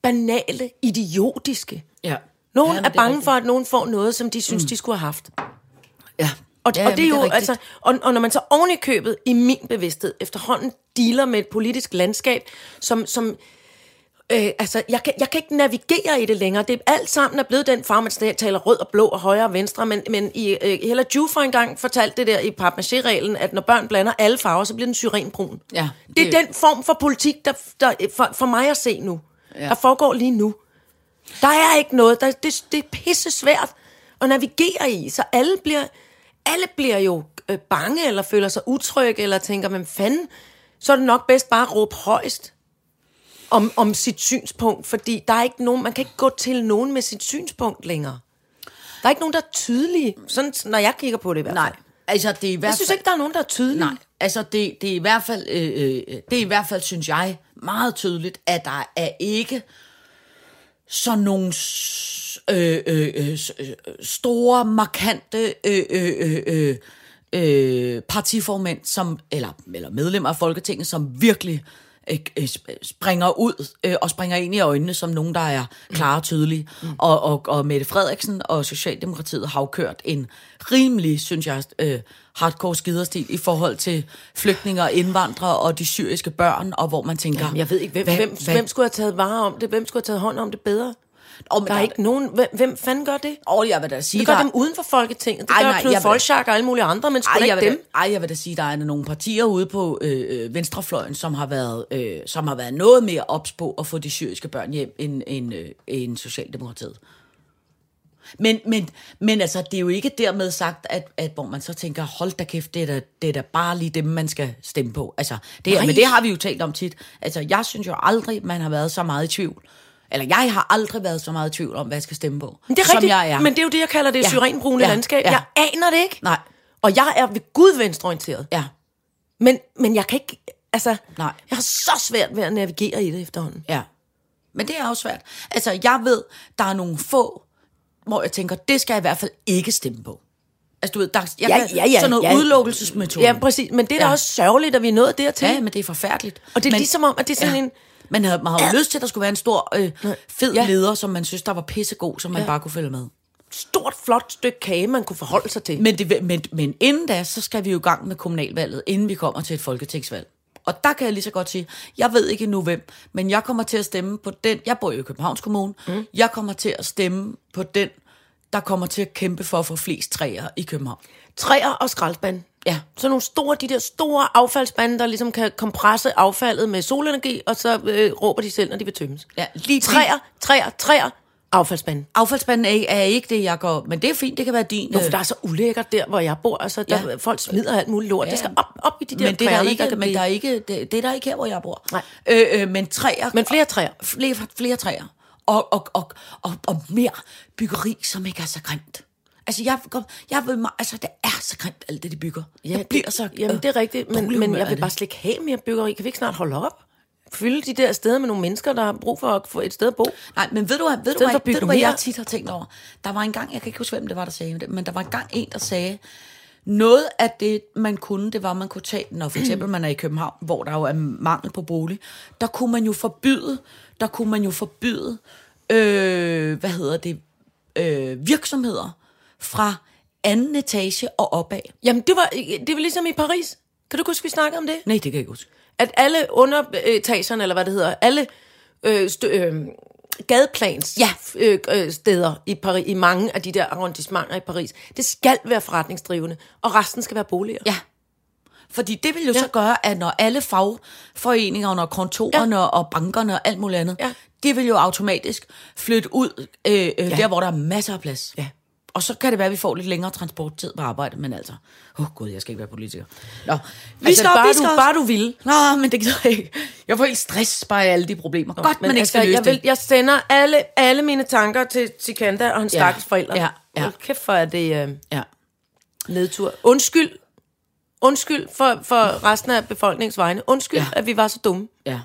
S3: banale, idiotiske.
S4: Ja.
S3: Nogen
S4: Ja,
S3: ja,
S4: men
S3: er
S4: det er
S3: bange
S4: rigtigt.
S3: for, at nogen får noget, som de synes, mm. de skulle have haft.
S4: Ja.
S3: Og, ja, og
S4: jamen,
S3: det er jo,
S4: rigtigt.
S3: altså, og, og når man så oven i købet, i min bevidsthed, efterhånden dealer med et politisk landskab, som, som øh, altså, jeg kan, jeg kan ikke navigere i det længere. Det er alt sammen er blevet den farve, man stadig taler rød og blå og højre og venstre, men, men i, øh, Hella Ju for en gang fortalte det der i papmaché-reglen, at når børn blander alle farver, så bliver den syrenbrun.
S4: Ja,
S3: det, det
S4: det-
S3: er den form for politik, der, der for, for mig at se nu, ja.
S4: Ja.
S3: der foregår lige nu. Der er ikke noget. Der, det, det er pisse svært at navigere i, så alle bliver, alle bliver jo øh, bange, eller føler sig utrygge, eller tænker, hvem fanden, så er det nok bedst bare at råbe højst om, om sit synspunkt, fordi der er ikke nogen, man kan ikke gå til nogen med sit synspunkt længere. Der er ikke nogen, der er tydelige, sådan, når jeg kigger på det i hvert fald.
S4: Nej, altså, det er i hvert
S3: Jeg synes ikke, der er nogen, der er tydelige.
S4: Nej, altså det, det er i hvert fald, øh, øh, det er i hvert fald, synes jeg, meget tydeligt, at der er ikke sådan nogle s- øh, øh, øh, s- øh, store, markante øh, øh, øh, øh, øh, partiformænd, som, eller, eller medlemmer af Folketinget, som virkelig øh, øh, sp- springer ud øh, og springer ind i øjnene som nogen, der er klare og tydelige.
S3: Mm.
S4: Og, og, og Mette Frederiksen og Socialdemokratiet har jo kørt en rimelig, synes jeg, øh, hardcore skiderstil i forhold til flygtninge og indvandrere og de syriske børn, og hvor man tænker...
S3: Jeg ved ikke, hvem,
S4: hvad-
S3: hvem,
S4: hvad-
S3: hvem skulle have taget vare om det? Hvem skulle have taget hånd om det bedre?
S4: Åh, men
S3: Der er ikke nogen... Hvem, hvem fanden gør det?
S4: Åh, jeg vil da sige,
S3: Det gør
S4: der-
S3: dem uden for Folketinget. Det
S4: Ej,
S3: gør
S4: nej,
S3: Knud
S4: jeg vil-
S3: Folchak og alle mulige andre, men sgu da
S4: Ej, jeg
S3: ikke
S4: vil,
S3: dem.
S4: da, ej, jeg vil da sige, der er nogle partier ude på øh, øh, venstrefløjen, som har, været, øh, som har været noget mere ops på at få de syriske børn hjem end, end, øh, end Socialdemokratiet. Men, men, men altså, det er jo ikke dermed sagt, at, at hvor man så tænker, hold da kæft, det er da, det er da bare lige dem, man skal stemme på. Altså, det her,
S3: Nej.
S4: men det har vi jo talt om tit. Altså, jeg synes jo aldrig, man har været så meget i tvivl. Eller jeg har aldrig været så meget i tvivl om, hvad jeg skal stemme på,
S3: Men det er
S4: som
S3: rigtigt,
S4: jeg er.
S3: men det er jo det, jeg kalder det
S4: Ja.
S3: ja. syrenbrune
S4: Ja.
S3: ja. landskab.
S4: Ja.
S3: Ja. Jeg aner det ikke.
S4: Nej.
S3: Og jeg er ved Gud venstreorienteret.
S4: Ja,
S3: Men, men jeg kan ikke... Altså,
S4: Nej.
S3: jeg har så svært ved at navigere i det efterhånden.
S4: ja. Men det er også svært. Altså, jeg ved, der er nogle få, hvor jeg tænker, det skal jeg i hvert fald ikke stemme på. Altså, du ved, der er jeg kan- sådan noget udelukkelsesmetode.
S3: Ja, præcis. Men det er da
S4: Ja.
S3: også sørgeligt, at vi er nået dertil.
S4: Ja, men det er forfærdeligt.
S3: Og det er
S4: men,
S3: ligesom om, at det er sådan
S4: ja.
S3: en...
S4: Man havde, man havde jo lyst til, at der skulle være en stor, øh, fed ja.
S3: Ja.
S4: leder, som man synes, der var pissegod, som man ja. bare kunne følge med.
S3: stort, flot stykke kage, man kunne forholde sig til.
S4: Men, det, men, men inden da, så skal vi jo i gang med kommunalvalget, inden vi kommer til et folketingsvalg. Og der kan jeg lige så godt sige, jeg ved ikke endnu hvem, men jeg kommer til at stemme på den, jeg bor jo i Københavns Kommune, mm. jeg kommer til at stemme på den, der kommer til at kæmpe for at få flest træer i København.
S3: Træer og skraldspand.
S4: Ja.
S3: Så nogle store, de der store affaldsspande, der ligesom kan kompresse affaldet med solenergi, og så øh, råber de selv, når de vil tømmes.
S4: Ja, lige-
S3: træer, træer, træer, affaldsspanden.
S4: Affaldsspanden er, er ikke det, jeg går, men det er fint, det kan være din.
S3: Nå,
S4: øh,
S3: for der er så ulækkert der, hvor jeg bor, og så der,
S4: Ja.
S3: ja. folk smider alt muligt lort. Ja. Det skal op, op i de der
S4: men det er der
S3: kværne,
S4: ikke,
S3: der
S4: der
S3: kan
S4: men
S3: blive-
S4: der er ikke, det, det er der ikke her, hvor jeg bor.
S3: Nej.
S4: Øh, øh, men træer.
S3: Men flere træer.
S4: Flere, flere træer. Og, og, og, og, og mere byggeri, som ikke er så grimt. Altså, jeg, kom- jeg vil, meget- altså, det er så grimt, alt det, de bygger. Ja, jeg bliver øh, så...
S3: Jamen, det er rigtigt, men, men jeg vil bare
S4: sige...
S3: slet ikke have mere byggeri. Kan vi ikke snart holde op? Fylde de der steder med nogle mennesker, der har brug for at få et sted at bo.
S4: Nej, men ved du, hvad- ved du,
S3: Stedet for
S4: hvad,
S3: at bygge
S4: ved du, hvad jeg
S3: mere.
S4: tit har tænkt over? Der var en gang, jeg kan ikke huske, hvem det var, der sagde det, men der var en gang en, der sagde, noget af det, man kunne, det var, at man kunne tage, når for eksempel man er i København, hvor der jo er mangel på bolig, der kunne man jo forbyde, der kunne man jo forbyde, øh, hvad hedder det, øh, virksomheder fra anden etage og opad.
S3: Jamen, det var, det var ligesom i Paris. Kan du ikke huske, vi snakkede om det?
S4: Nej, det kan jeg ikke huske.
S3: at alle underetagerne, eller hvad det hedder, alle øh, stø, øh, gadeplans
S4: Ja.
S3: øh, øh, steder i, Paris, i mange af de der arrondissementer i Paris, det skal være forretningsdrivende, og resten skal være boliger.
S4: Ja. Fordi det vil jo ja. så gøre, at når alle fagforeningerne og kontorerne ja. og bankerne og alt muligt andet,
S3: Ja.
S4: det vil jo automatisk flytte ud øh, øh, ja. der, hvor der er masser af plads.
S3: Ja.
S4: Og så kan det være, at vi får lidt længere transporttid på arbejde, men altså... Åh oh gud, jeg skal ikke være politiker. Nå, vi
S3: Altså,
S4: op,
S3: bare
S4: vi skal
S3: du-
S4: op.
S3: bare du vil.
S4: Nå, men det gider jeg ikke. Jeg får helt stress bare af alle de problemer. Nå, Godt, man ikke altså, skal løse
S3: jeg,
S4: det.
S3: jeg sender alle, alle mine tanker til Sikanda og hans
S4: Ja.
S3: ja. stakkels forældre.
S4: Ja. Ja.
S3: Hold kæft, for er det øh,
S4: Ja.
S3: nedtur. Undskyld. Undskyld for, for resten af befolkningens vegne. Undskyld,
S4: Ja.
S3: ja. at vi var så dumme.
S4: Ja.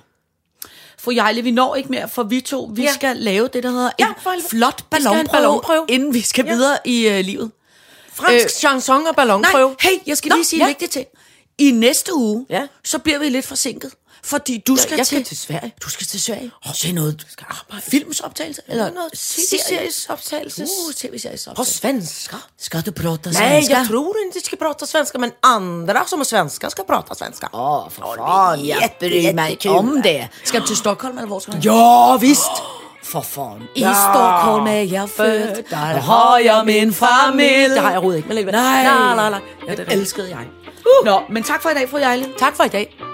S4: Fru Jejle, vi når ikke mere, for vi to, vi ja.
S3: Ja.
S4: skal lave det, der hedder
S3: Ja,
S4: en
S3: for helvede.
S4: flot
S3: Vi skal
S4: ballonprøve,
S3: have en ballonprøve.
S4: inden vi skal ja.
S3: Ja.
S4: videre i øh, livet.
S3: Fransk øh, chanson og ballonprøve.
S4: Nej, hey, jeg skal Nå,
S3: Nå,
S4: lige sige
S3: ja.
S4: ja. vigtigt ting. I næste uge, ja.
S3: Ja.
S4: så bliver vi lidt forsinket, fordi du skal,
S3: jeg
S4: til,
S3: skal til Sverige.
S4: Du skal til Sverige. Og se noget du skal arbejde. filmsoptagelse, eller
S3: noget tv-seriesoptagelse.
S4: Uh,
S3: På
S4: tv-seriesoptagelse.
S3: svenska?
S4: Skal du prata
S3: Nej,
S4: svenska?
S3: jag tror inte ska prata svenska, men andra som är svenska ska prata svenska.
S4: Åh, for fan, jeg
S3: Jätte-
S4: bryr mig ikke
S3: jättekul.
S4: om det. Skal du til Stockholm, eller hvor skal du?
S3: Ja, visst!
S4: For fan, i Stockholm er jeg født, der har jeg min familie.
S3: Det har jeg overhovedet ikke, men alligevel.
S4: Nej,
S3: Nej, nej, nej.
S4: Ja, det elskede jeg. Uh. Nå, men tak for i dag, fru Jejle.
S3: Tack för idag.